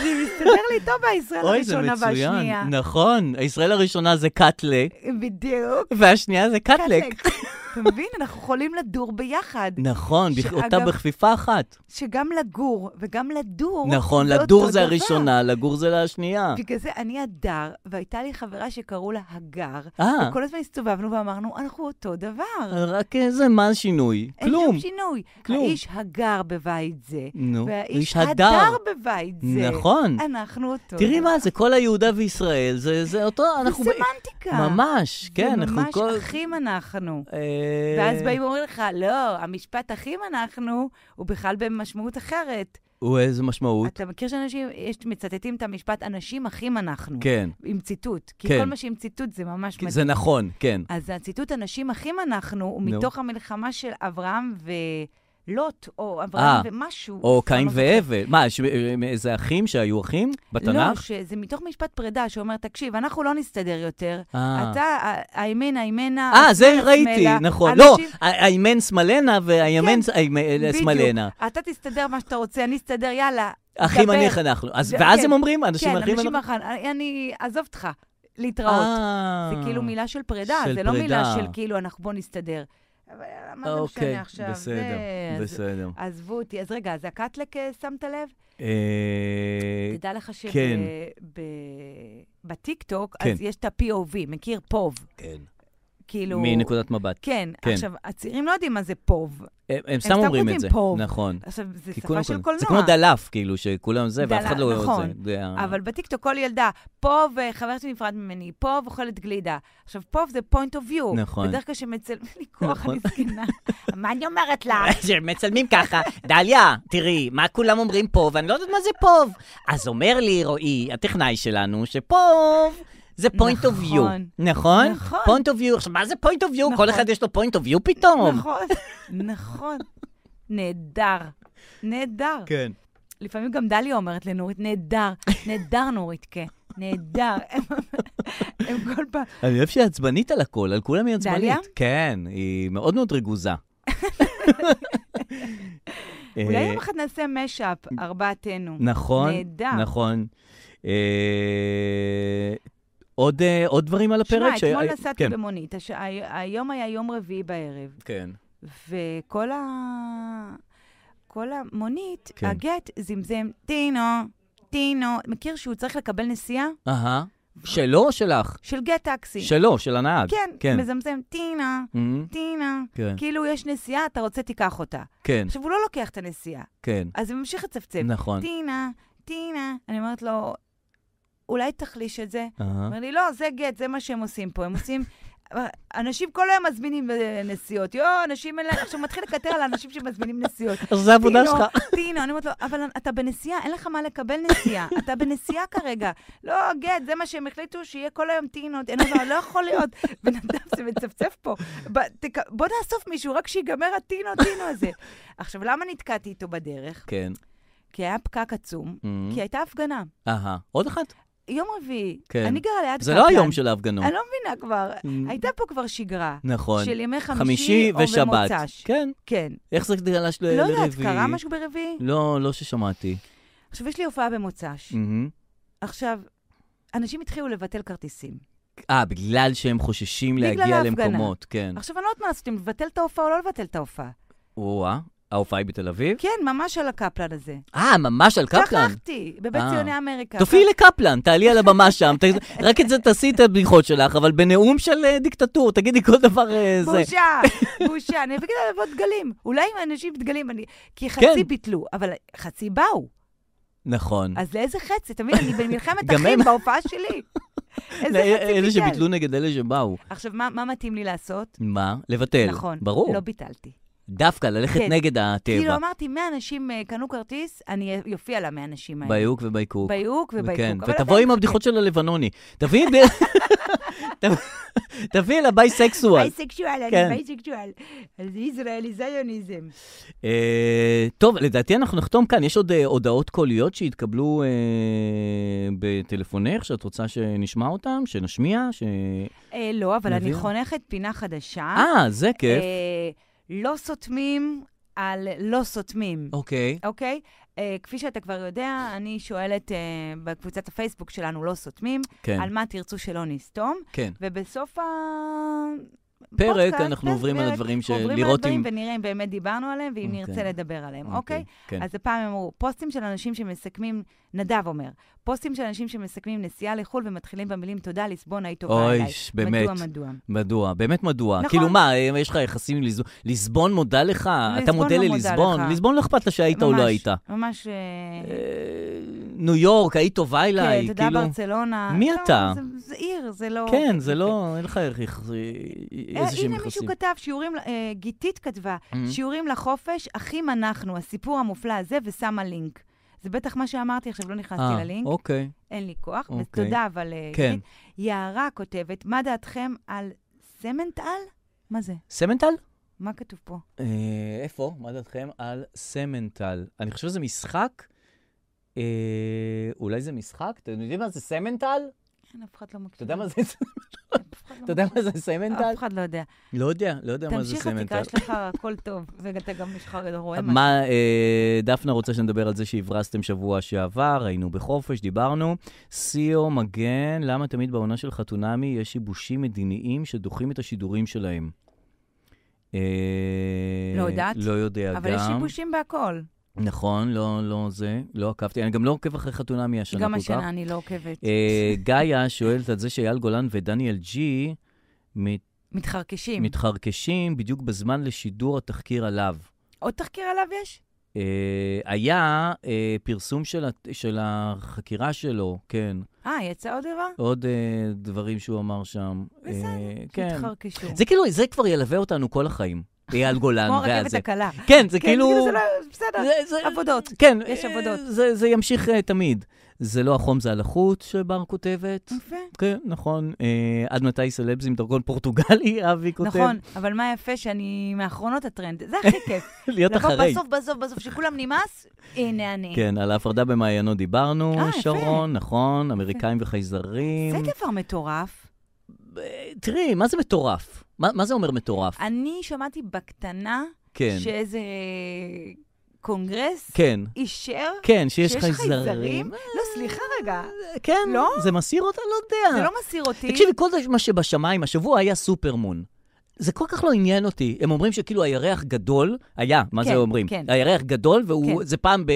Speaker 3: זה מסתדר לי טוב בישראל
Speaker 2: אוי, זה
Speaker 3: הראשונה והשנייה.
Speaker 2: מצוין. נכון, ישראל הראשונה זה קאטלה,
Speaker 3: בדיוק.
Speaker 2: והשנייה זה קאטלק.
Speaker 3: קטלק. אתה מבין? אנחנו יכולים לדור ביחד.
Speaker 2: נכון, בכ- אותה
Speaker 3: שאגב-
Speaker 2: בכפיפה אחת.
Speaker 3: שגם לגור וגם לדור,
Speaker 2: נכון,
Speaker 3: אוקיי, אותו
Speaker 2: לדור זה
Speaker 3: דבר.
Speaker 2: הראשונה, לגור זה השנייה.
Speaker 3: בגלל זה אני הדר, והייתה לי חברה שקראו לה הגר,
Speaker 2: אה.
Speaker 3: וכל הזמן הסתובבנו ואמרנו, אנחנו אותו דבר.
Speaker 2: רק איזה, מה השינוי?
Speaker 3: אין
Speaker 2: כלום.
Speaker 3: שום שינוי.
Speaker 2: כלום.
Speaker 3: האיש הגר בבית זה,
Speaker 2: נו,
Speaker 3: והאיש
Speaker 2: איש
Speaker 3: הדר
Speaker 2: הדר.
Speaker 3: בבית זה.
Speaker 2: נכון.
Speaker 3: אנחנו אותו.
Speaker 2: תראי
Speaker 3: דבר.
Speaker 2: מה זה, כל היהודה וישראל, זה זה אותו, אנחנו... ב-
Speaker 3: סמנטיקה.
Speaker 2: ממש, כן, אנחנו
Speaker 3: ממש
Speaker 2: כל...
Speaker 3: אחים אנחנו.
Speaker 2: אה,
Speaker 3: ואז באים ואומרים לך, לא, המשפט אחים אנחנו, הוא בכלל במשמעות אחרת.
Speaker 2: הוא איזה משמעות.
Speaker 3: אתה מכיר שאנשים, יש, מצטטים את המשפט, אנשים אחים אנחנו.
Speaker 2: כן.
Speaker 3: עם ציטוט. כי
Speaker 2: כן.
Speaker 3: כל מה שעם ציטוט זה ממש
Speaker 2: כי
Speaker 3: מדהים.
Speaker 2: זה נכון, כן.
Speaker 3: אז הציטוט אנשים אחים אנחנו, הוא
Speaker 2: נו.
Speaker 3: מתוך המלחמה של אברהם ולוט, או
Speaker 2: אה,
Speaker 3: אברהם ומשהו.
Speaker 2: או
Speaker 3: אף פעם
Speaker 2: קין
Speaker 3: לא זוכרת.
Speaker 2: והבל. מה, ש- אה, איזה אחים שהיו אחים
Speaker 3: לא,
Speaker 2: בתנ"ך?
Speaker 3: שזה מתוך משפט פרידה שאומר, תקשיב, אנחנו לא נסתדר יותר.
Speaker 2: אה.
Speaker 3: אתה, ה- הימינה, הימינה.
Speaker 2: אה, זה
Speaker 3: השמאלה,
Speaker 2: ראיתי,
Speaker 3: השמאלה,
Speaker 2: נכון. לא,
Speaker 3: אנשים-
Speaker 2: ה- הימן שמאלנה והימן
Speaker 3: כן,
Speaker 2: הימ- אה, שמאלנה.
Speaker 3: בדיוק. אתה תסתדר מה שאתה רוצה, אני אסתדר, יאללה.
Speaker 2: אחים
Speaker 3: דבר.
Speaker 2: אני אנחנו. אז-
Speaker 3: זה-
Speaker 2: ואז
Speaker 3: כן.
Speaker 2: הם אומרים, אנשים
Speaker 3: כן,
Speaker 2: אחים
Speaker 3: אנשים
Speaker 2: אנחנו.
Speaker 3: אחים. אני- אני, עזוב אותך, להתראות.
Speaker 2: אה,
Speaker 3: זה כאילו מילה של פרידה,
Speaker 2: של
Speaker 3: זה לא מילה
Speaker 2: פרידה.
Speaker 3: של כאילו, אנחנו בוא נסתדר. אבל מה זה
Speaker 2: אוקיי,
Speaker 3: משנה עכשיו?
Speaker 2: בסדר,
Speaker 3: זה- אז-
Speaker 2: בסדר.
Speaker 3: עזבו אותי. אז רגע, אז הקטלק, אה, שמת לב?
Speaker 2: אה,
Speaker 3: תדע לך שבטיקטוק,
Speaker 2: כן.
Speaker 3: אז יש את ה-POV, מכיר? פוב.
Speaker 2: כן.
Speaker 3: כאילו...
Speaker 2: מנקודת מבט.
Speaker 3: כן,
Speaker 2: כן.
Speaker 3: עכשיו, הצעירים לא יודעים מה זה פוב.
Speaker 2: הם- הם סתם
Speaker 3: סתם
Speaker 2: אומרים
Speaker 3: כותבים
Speaker 2: את זה.
Speaker 3: פוב.
Speaker 2: נכון.
Speaker 3: עכשיו, זו
Speaker 2: כי
Speaker 3: שפה
Speaker 2: כולם
Speaker 3: של
Speaker 2: קודם-
Speaker 3: קולנוע.
Speaker 2: זה כמו דלף, כאילו, שכולם זה, ואף
Speaker 3: דלה-
Speaker 2: אחד לא רואה
Speaker 3: נכון.
Speaker 2: את זה. זה ה-
Speaker 3: אבל בטיקטוק כל ילדה, פוב, אה, חבר שלי נפרד ממני, פוב אוכלת גלידה. עכשיו, פוב זה point of view.
Speaker 2: נכון.
Speaker 3: בדרך כלל שמצלמים לי כוח,
Speaker 2: נכון.
Speaker 3: אני זקנה. מה אני אומרת לה?
Speaker 2: שמצלמים ככה, דליה, תראי, מה כולם אומרים פוב, אני לא יודעת מה זה פוב. אז אומר לי רועי, הטכנאי שלנו, שפוב זה point of view.
Speaker 3: נכון.
Speaker 2: נכון?
Speaker 3: נכון.
Speaker 2: point of view, עכשיו, מה זה point of view?
Speaker 3: נכון.
Speaker 2: כל אחד יש לו point of view פתאום.
Speaker 3: נכון, נכון. נהדר. נהדר.
Speaker 2: כן.
Speaker 3: לפעמים גם דליה אומרת לנורית, נהדר. נהדר, נוריתקה. נהדר. הם- הם כל פעם...
Speaker 2: אני אוהב שהיא עצבנית על הכל, על כולם היא עצבנית.
Speaker 3: דליה?
Speaker 2: כן, היא מאוד מאוד רגוזה.
Speaker 3: אולי
Speaker 2: אה,
Speaker 3: יום אחד נעשה משאפ, ארבעתנו.
Speaker 2: נכון,
Speaker 3: נהדר.
Speaker 2: נכון. אה, עוד, אה, עוד דברים על הפרק?
Speaker 3: שמע, אתמול
Speaker 2: שה-
Speaker 3: נסעתי
Speaker 2: כן,
Speaker 3: במונית, הש- הי- היום היה יום רביעי בערב.
Speaker 2: כן.
Speaker 3: וכל ה... כל המונית,
Speaker 2: כן.
Speaker 3: כן. הגט זמזם, טינו, טינו. מכיר שהוא צריך לקבל נסיעה?
Speaker 2: אהה. שלו או שלך?
Speaker 3: של גט טקסי.
Speaker 2: שלו, של הנהג.
Speaker 3: כן,
Speaker 2: כן.
Speaker 3: כן, מזמזם, טינו,
Speaker 2: אמ,
Speaker 3: טינו.
Speaker 2: כן.
Speaker 3: כאילו, יש נסיעה, אתה רוצה, תיקח אותה.
Speaker 2: כן,
Speaker 3: עכשיו, הוא לא לוקח את הנסיעה,
Speaker 2: כן,
Speaker 3: אז הוא ממשיך לצפצף.
Speaker 2: נכון.
Speaker 3: טינה, טינה. אני אומרת לו, אולי תחליש את זה?
Speaker 2: אהה.
Speaker 3: אומר לי, לא, זה גט, זה מה שהם עושים פה. הם עושים... אנשים כל היום מזמינים אה, נסיעות. יואו, אנשים אין להם... עכשיו, הוא מתחיל לקטר על האנשים שמזמינים נסיעות.
Speaker 2: אז זה העבודה
Speaker 3: טינו,
Speaker 2: שלך.
Speaker 3: טינו, אני אומרת לו, אבל אתה בנסיעה, אין לך מה לקבל נסיעה. אתה בנסיעה כרגע. לא, גט, זה מה שהם החליטו, שיהיה כל היום טינו. אני אומרת לו, לא יכול להיות. בן אדם שמצפצף פה. ב- תק- בוא נאסוף מישהו, רק שיגמר הטינו, טינו הזה. עכשיו, למה נתקעתי איתו בדרך?
Speaker 2: כן.
Speaker 3: כי היה פקק עצום,
Speaker 2: אמ,
Speaker 3: כי הייתה הפגנה.
Speaker 2: אהה. עוד אחת?
Speaker 3: יום רביעי,
Speaker 2: כן.
Speaker 3: אני גרה ליד קפלן.
Speaker 2: זה לא היום של ההפגנות.
Speaker 3: אני לא מבינה כבר.
Speaker 2: אמ,
Speaker 3: הייתה פה כבר שגרה.
Speaker 2: נכון.
Speaker 3: של ימי חמישי,
Speaker 2: חמישי
Speaker 3: או
Speaker 2: ושבת.
Speaker 3: במוצ"ש.
Speaker 2: כן.
Speaker 3: כן.
Speaker 2: איך זה גלש ל- לרביעי?
Speaker 3: לא יודעת, קרה משהו ברביעי?
Speaker 2: לא, לא ששמעתי.
Speaker 3: עכשיו, יש לי הופעה במוצ"ש.
Speaker 2: אמ.
Speaker 3: עכשיו, אנשים התחילו לבטל כרטיסים.
Speaker 2: אה, בגלל שהם חוששים
Speaker 3: בגלל
Speaker 2: להגיע
Speaker 3: ההפגנה.
Speaker 2: למקומות, כן.
Speaker 3: עכשיו, אני לא יודעת מה לעשות, אם לבטל את ההופעה או לא לבטל את ההופעה.
Speaker 2: או-אה, אה, ההופעה היא בתל אביב?
Speaker 3: כן, ממש על הקפלן הזה.
Speaker 2: אה, ממש על קפלן.
Speaker 3: שכחתי, בבית
Speaker 2: אה.
Speaker 3: ציוני אמריקה.
Speaker 2: תופיעי לקפלן, תעלי על הבמה שם, ת- רק את זה תעשי את הבדיחות שלך, אבל בנאום של אה, דיקטטור, תגידי כל דבר אה, זה.
Speaker 3: בושה, בושה. אני אביא לבוא דגלים. אולי אם אנשים דגלים, אני... כי
Speaker 2: כן.
Speaker 3: חצי ביטלו, אבל חצי באו.
Speaker 2: נכון.
Speaker 3: אז לאיזה חצי? אתה מבין, אני במלחמת
Speaker 2: גם
Speaker 3: אחים
Speaker 2: הם-
Speaker 3: בהופעה שלי.
Speaker 2: לא,
Speaker 3: איזה חצי
Speaker 2: אלה
Speaker 3: ביטל?
Speaker 2: שביטלו נגד אלה שבאו.
Speaker 3: עכשיו, מה מה מתאים לי לעשות?
Speaker 2: מה? לבטל.
Speaker 3: נכון.
Speaker 2: כן, ברור.
Speaker 3: לא ביטלתי.
Speaker 2: דווקא ללכת
Speaker 3: כן.
Speaker 2: נגד הטבע.
Speaker 3: כאילו אמרתי, 100 אנשים אה, קנו כרטיס, אני יופיע ל-100 אנשים האלה.
Speaker 2: ביוק ובייקוק.
Speaker 3: ביוק
Speaker 2: כן,
Speaker 3: ובייקוק. אבל
Speaker 2: ותבואי
Speaker 3: עדיין-
Speaker 2: עם הבדיחות של הלבנוני. תביאי ב- תביאי לה בייסקסואל.
Speaker 3: בייסקשואל,
Speaker 2: כן.
Speaker 3: אני בייסקשואל. אז ישראלי זיוניזם.
Speaker 2: אה, טוב, לדעתי אנחנו נחתום כאן. יש עוד אה, הודעות קוליות שהתקבלו אה, בטלפונך, שאת רוצה שנשמע אותן, שנשמיע, ש...
Speaker 3: אה, לא, אבל אני
Speaker 2: נביאה.
Speaker 3: חונכת פינה חדשה.
Speaker 2: אה, זה כיף.
Speaker 3: אה, לא סותמים על לא סותמים,
Speaker 2: אוקיי.
Speaker 3: אוקיי? אה, אה, כפי שאתה כבר יודע, אני שואלת אה, בקבוצת הפייסבוק שלנו, לא סותמים,
Speaker 2: כן.
Speaker 3: על מה תרצו שלא נסתום,
Speaker 2: כן.
Speaker 3: ובסוף ה...
Speaker 2: פרק,
Speaker 3: פודקאסט,
Speaker 2: אנחנו
Speaker 3: כן,
Speaker 2: עוברים על
Speaker 3: פרק,
Speaker 2: הדברים של-
Speaker 3: עוברים על
Speaker 2: לראות
Speaker 3: הדברים
Speaker 2: אם-
Speaker 3: ונראה אם באמת דיברנו עליהם, ואם
Speaker 2: אוקיי.
Speaker 3: נרצה לדבר עליהם, אוקיי?
Speaker 2: כן.
Speaker 3: אז הפעם הם אמרו, פוסטים של אנשים שמסכמים, נדב אומר, פוסטים של אנשים שמסכמים נסיעה לחו"ל ומתחילים במילים תודה, ליסבון, היית טובה
Speaker 2: אוי,
Speaker 3: אליי.
Speaker 2: ש- באמת.
Speaker 3: מדוע, מדוע?
Speaker 2: מדוע? באמת מדוע?
Speaker 3: נכון.
Speaker 2: כאילו מה, אה, יש לך יחסים עם ליסבון? ליסבון מודה לך? אתה
Speaker 3: ליסבון
Speaker 2: מודה
Speaker 3: לא מודה
Speaker 2: לליסבון?
Speaker 3: לך.
Speaker 2: ליסבון לא אכפת לה שהיית או לא
Speaker 3: ממש,
Speaker 2: היית.
Speaker 3: ממש... אה,
Speaker 2: ניו יורק, היית טובה
Speaker 3: כן,
Speaker 2: אליי,
Speaker 3: תודה,
Speaker 2: כאילו...
Speaker 3: ברצלונה.
Speaker 2: מי
Speaker 3: לא,
Speaker 2: אתה?
Speaker 3: זה- זה עיר, זה לא...
Speaker 2: כן, זה לא, אין לך איך-
Speaker 3: אה,
Speaker 2: איזה שהם
Speaker 3: הנה מישהו
Speaker 2: יחסים.
Speaker 3: כתב, שיעורים, אה, גיתית כתבה,
Speaker 2: Mhm.
Speaker 3: שיעורים לחופש, אחים אנחנו, הסיפור המופלא הזה, ושמה לינק. זה בטח מה שאמרתי עכשיו, לא נכנסתי
Speaker 2: אה,
Speaker 3: ללינק,
Speaker 2: אוקיי.
Speaker 3: אין לי כוח,
Speaker 2: אוקיי.
Speaker 3: ותודה אבל... אה,
Speaker 2: כן.
Speaker 3: גיתית. יערה כותבת, מה דעתכם על סמנטל? מה זה?
Speaker 2: סמנטל?
Speaker 3: מה כתוב פה?
Speaker 2: אה, איפה? מה דעתכם על סמנטל? אני חושב שזה משחק. אה, אולי זה משחק? אתם יודעים מה זה סמנטל?
Speaker 3: אין, אף אחד לא מקשיב.
Speaker 2: אתה יודע מה זה
Speaker 3: אף אחד לא
Speaker 2: אתה יודע
Speaker 3: מקשיב.
Speaker 2: מה זה סמנטל?
Speaker 3: אף אחד לא יודע.
Speaker 2: לא יודע, לא יודע מה זה
Speaker 3: תמשיך
Speaker 2: סמנטל.
Speaker 3: התקרה שלך, הכל טוב. ואתה גם יש לך רואה משהו.
Speaker 2: מה, אה, דפנה רוצה שנדבר על זה שהברזתם שבוע שעבר, היינו בחופש, דיברנו. סיו מגן, למה תמיד בעונה של חתונמי יש שיבושים מדיניים שדוחים את השידורים שלהם? אה,
Speaker 3: לא יודעת.
Speaker 2: לא יודע גם.
Speaker 3: אבל יש שיבושים בהכל.
Speaker 2: נכון, לא, לא זה, לא עקבתי. אני גם לא עוקב אחרי חתונמי השנה
Speaker 3: גם
Speaker 2: כל כך.
Speaker 3: השנה אני לא עוקבת.
Speaker 2: אה, גאיה שואלת על זה שאייל גולן ודניאל ג'י מת-
Speaker 3: מתחרקשים.
Speaker 2: מתחרקשים בדיוק בזמן לשידור התחקיר עליו.
Speaker 3: עוד תחקיר עליו יש?
Speaker 2: אה, היה אה, פרסום של, הת- של החקירה שלו, כן.
Speaker 3: אה, יצא עוד דבר?
Speaker 2: עוד אה, דברים שהוא אמר שם.
Speaker 3: בסדר,
Speaker 2: אה, כן.
Speaker 3: התחרקשו.
Speaker 2: זה כאילו, זה כבר ילווה אותנו כל החיים. אייל גולן
Speaker 3: כמו
Speaker 2: והזה.
Speaker 3: הרכבת הקלה.
Speaker 2: כן, זה
Speaker 3: כן,
Speaker 2: כאילו...
Speaker 3: זה לא- בסדר,
Speaker 2: זה- זה-
Speaker 3: עבודות.
Speaker 2: כן.
Speaker 3: יש
Speaker 2: אה,
Speaker 3: עבודות.
Speaker 2: זה, זה ימשיך אה, תמיד. זה לא החום, זה הלחות שבר כותבת.
Speaker 3: יפה.
Speaker 2: כן, נכון. אה, עד מתי סלבס עם דרכון פורטוגלי, אבי כותב.
Speaker 3: נכון, אבל מה יפה שאני מאחרונות הטרנד. זה הכי כיף.
Speaker 2: להיות אחרי.
Speaker 3: לבוא בסוף, בסוף, בסוף, שכולם נמאס, הנה אני.
Speaker 2: כן, על ההפרדה במעיינות דיברנו,
Speaker 3: אה, יפה.
Speaker 2: שרון, נכון, אמריקאים וחייזרים.
Speaker 3: זה דבר מטורף.
Speaker 2: אה, תראי, מה זה מטורף? מה מה זה אומר מטורף?
Speaker 3: אני שמעתי בקטנה
Speaker 2: כן,
Speaker 3: שאיזה קונגרס
Speaker 2: כן,
Speaker 3: אישר
Speaker 2: כן, שיש
Speaker 3: שיש
Speaker 2: חייזרים.
Speaker 3: חייזרים. לא, סליחה רגע,
Speaker 2: כן,
Speaker 3: לא?
Speaker 2: זה מסיר אותה? לא יודע.
Speaker 3: זה לא מסיר אותי.
Speaker 2: תקשיבי, כל זה מה שבשמיים, השבוע היה סופרמון. זה כל כך לא עניין אותי. הם אומרים שכאילו הירח גדול, היה, מה
Speaker 3: כן,
Speaker 2: זה אומרים?
Speaker 3: כן.
Speaker 2: הירח גדול, והוא,
Speaker 3: כן.
Speaker 2: זה פעם ב...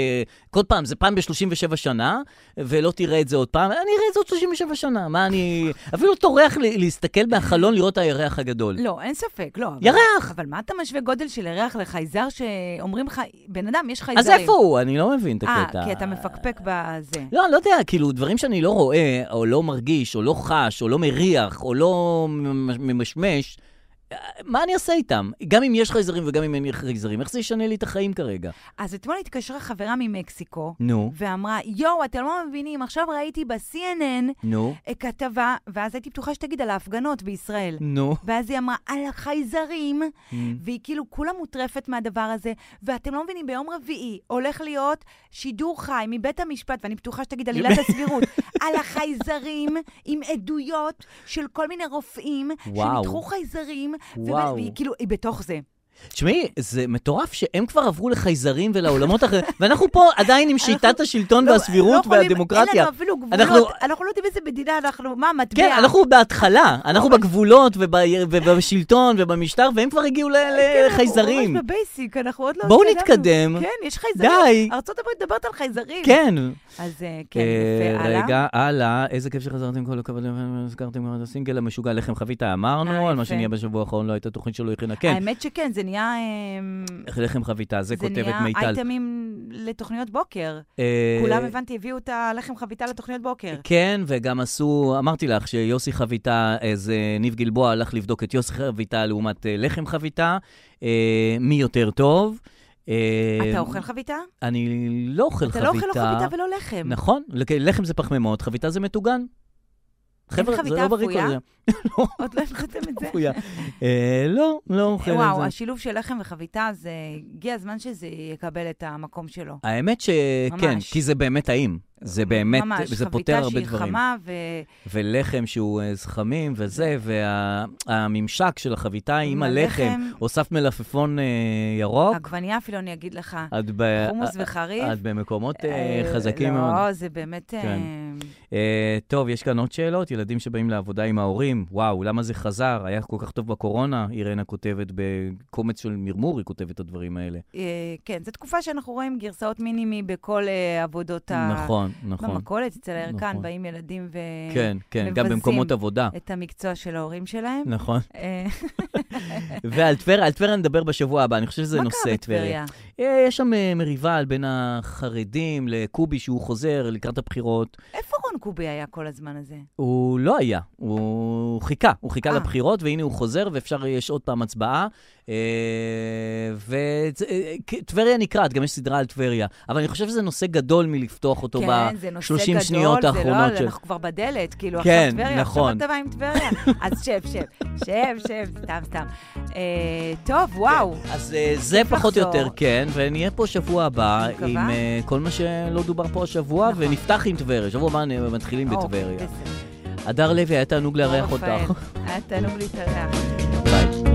Speaker 2: כל פעם, זה פעם ב-37 שנה, ולא תראה את זה עוד פעם. אני אראה את זה עוד 37 שנה, מה אני... אפילו טורח לי- להסתכל מהחלון לראות את הירח הגדול.
Speaker 3: לא, אין ספק, לא. אבל-
Speaker 2: ירח!
Speaker 3: אבל מה אתה משווה גודל של ירח לחייזר שאומרים לך, בן אדם, יש חייזרים.
Speaker 2: אז איפה הוא? אני לא מבין את הקטע.
Speaker 3: אה, כי אתה מפקפק בזה.
Speaker 2: לא, אני לא יודע, כאילו, דברים שאני לא רואה, או לא מרגיש, או לא חש, או לא מריח, או לא ממש- ממשמש, אה, מה אני אעשה איתם? גם אם יש חייזרים וגם אם אין חייזרים, איך זה ישנה לי את החיים כרגע?
Speaker 3: אז אתמול התקשרה חברה ממקסיקו,
Speaker 2: נו,
Speaker 3: ואמרה, יואו, אתם לא מבינים, עכשיו ראיתי ב-CNN
Speaker 2: נו,
Speaker 3: כתבה, ואז הייתי בטוחה שתגיד על ההפגנות בישראל.
Speaker 2: נו.
Speaker 3: ואז היא אמרה, על החייזרים,
Speaker 2: Mm.
Speaker 3: והיא כאילו כולה מוטרפת מהדבר הזה, ואתם לא מבינים, ביום רביעי הולך להיות שידור חי מבית המשפט, ואני בטוחה שתגיד על עילת הסבירות, על החייזרים עם עדויות של כל מיני רופאים,
Speaker 2: וואו.
Speaker 3: שניתחו חייזרים, ו-
Speaker 2: וואו.
Speaker 3: והיא כאילו, היא בתוך זה.
Speaker 2: תשמעי, זה מטורף שהם כבר עברו לחייזרים ולעולמות אחרים, ואנחנו פה עדיין עם שיטת השלטון
Speaker 3: לא
Speaker 2: והסבירות
Speaker 3: יכולים- אין
Speaker 2: והדמוקרטיה.
Speaker 3: לנו אפילו
Speaker 2: אנחנו-
Speaker 3: גבולות, אנחנו לא יודעים איזה מדינה אנחנו, מה, מטבע?
Speaker 2: כן, אנחנו בהתחלה, אנחנו
Speaker 3: אוקיי.
Speaker 2: בגבולות וב- ובשלטון ובמשטר, והם כבר הגיעו ל-
Speaker 3: כן, אנחנו
Speaker 2: לחייזרים.
Speaker 3: ממש בבייסיק, אנחנו עוד לא
Speaker 2: אה, בואו
Speaker 3: התקדמנו.
Speaker 2: נתקדם.
Speaker 3: כן, יש חייזרים.
Speaker 2: די.
Speaker 3: ארצות הברית מדברת על חייזרים.
Speaker 2: כן.
Speaker 3: אז אה, כן,
Speaker 2: אה,
Speaker 3: יפה, הלאה.
Speaker 2: רגע, הלאה, איזה כיף שחזרתם כל הכבוד, הזכרתם גם את הסינגל המשוגע לחם חביתה, אמרנו,
Speaker 3: אה,
Speaker 2: על מה
Speaker 3: יפה.
Speaker 2: שנהיה בשבוע האחרון לא הייתה תוכנית שלא הכינה, כן,
Speaker 3: האמת שכן, זה נהיה... אמ,
Speaker 2: לחם חביתה, זה
Speaker 3: זה
Speaker 2: כותבת
Speaker 3: נהיה
Speaker 2: מיטל.
Speaker 3: אייטמים לתוכניות בוקר.
Speaker 2: אה,
Speaker 3: כולם, הבנתי, הביאו את הלחם חביתה לתוכניות בוקר.
Speaker 2: כן, וגם עשו, אמרתי לך שיוסי חביתה, איזה ניב גלבוע הלך לבדוק את יוסי חביתה לעומת אה, לחם חביתה, אה, מי יותר טוב. אה,
Speaker 3: אתה אוכל חביתה?
Speaker 2: אני לא אוכל
Speaker 3: אתה
Speaker 2: חביתה.
Speaker 3: לא אוכל לא חביתה ולא לחם.
Speaker 2: נכון, לק- לחם זה פחמימות, חביתה זה מטוגן. חבר'ה, זה
Speaker 3: חביתה
Speaker 2: לא בריא כל
Speaker 3: אפויה?
Speaker 2: זה.
Speaker 3: עוד לא הבנתם את זה?
Speaker 2: אפויה. אה, לא, לא אוכל את
Speaker 3: וואו,
Speaker 2: זה.
Speaker 3: השילוב של לחם וחביתה, זה... הגיע הזמן שזה יקבל את המקום שלו.
Speaker 2: האמת שכן,
Speaker 3: ממש.
Speaker 2: כי זה באמת טעים. זה באמת,
Speaker 3: ממש,
Speaker 2: זה פותר הרבה
Speaker 3: חביתה שהיא
Speaker 2: דברים. אוקיי.
Speaker 3: חמה, ו...
Speaker 2: ולחם שהוא אה, זכמים וזה, והממשק של החביתה עם
Speaker 3: עם
Speaker 2: הלחם,
Speaker 3: הלחם.
Speaker 2: הוספת מלפפון אה, ירוק,
Speaker 3: עגבנייה אפילו, אני אגיד לך.
Speaker 2: את ב-
Speaker 3: חומוס
Speaker 2: אה,
Speaker 3: וחריף.
Speaker 2: את במקומות אה,
Speaker 3: אה,
Speaker 2: חזקים
Speaker 3: לא,
Speaker 2: מאוד.
Speaker 3: לא, זה באמת... אה,
Speaker 2: כן. אה, טוב, יש כאן עוד שאלות? ילדים שבאים לעבודה עם ההורים, וואו, למה זה חזר? היה כל כך טוב בקורונה, אירנה כותבת בקומץ של מרמור, היא כותבת את הדברים האלה.
Speaker 3: אה, כן, זו תקופה שאנחנו רואים גרסאות מינימי בכל אה, עבודות ה...
Speaker 2: נכון, נכון.
Speaker 3: במכולת, אצל הירקן,
Speaker 2: נכון.
Speaker 3: באים ילדים ו...
Speaker 2: כן, כן, גם
Speaker 3: מבזים
Speaker 2: במקומות עבודה.
Speaker 3: את המקצוע של ההורים שלהם.
Speaker 2: נכון.
Speaker 3: אה,
Speaker 2: ועל טבריה, על טבריה נדבר בשבוע הבא, אני חושב שזה
Speaker 3: מה
Speaker 2: נושא
Speaker 3: קרה בטבריה?
Speaker 2: אה, יש שם אה, מריבה על בין החרדים לקובי שהוא חוזר לקראת הבחירות.
Speaker 3: איפה רון קובי היה כל הזמן הזה?
Speaker 2: הוא לא היה, הוא חיכה, הוא חיכה
Speaker 3: אה.
Speaker 2: לבחירות, והנה הוא חוזר, ואפשר, יש עוד פעם הצבעה. אה, וטבריה אה, נקרעת, גם יש סדרה על טבריה. אבל אני חושב שזה נושא גדול מלפתוח אותו
Speaker 3: כן, זה נושא
Speaker 2: ב-30
Speaker 3: גדול,
Speaker 2: שניות
Speaker 3: זה
Speaker 2: האחרונות
Speaker 3: לא,
Speaker 2: של...
Speaker 3: אנחנו כבר בדלת, כאילו,
Speaker 2: כן,
Speaker 3: עכשיו טבריה,
Speaker 2: נכון.
Speaker 3: עכשיו אתה בא עם טבריה. אז שב, שב, שב, שב, סתם, סתם. אה, טוב, וואו.
Speaker 2: אז אה, זה
Speaker 3: כיף
Speaker 2: פחות או
Speaker 3: לחזור.
Speaker 2: יותר כן, ונהיה פה שבוע הבא
Speaker 3: אני מקווה.
Speaker 2: עם אה, כל מה שלא דובר פה השבוע,
Speaker 3: נכון.
Speaker 2: ונפתח עם טבריה. שבוע הבא אה, מתחילים
Speaker 3: אוקיי,
Speaker 2: בטבריה.
Speaker 3: בסדר.
Speaker 2: הדר לוי, היה תענוג לארח
Speaker 3: רפאל,
Speaker 2: אותך.
Speaker 3: היה תענוג להתארח.
Speaker 2: ביי.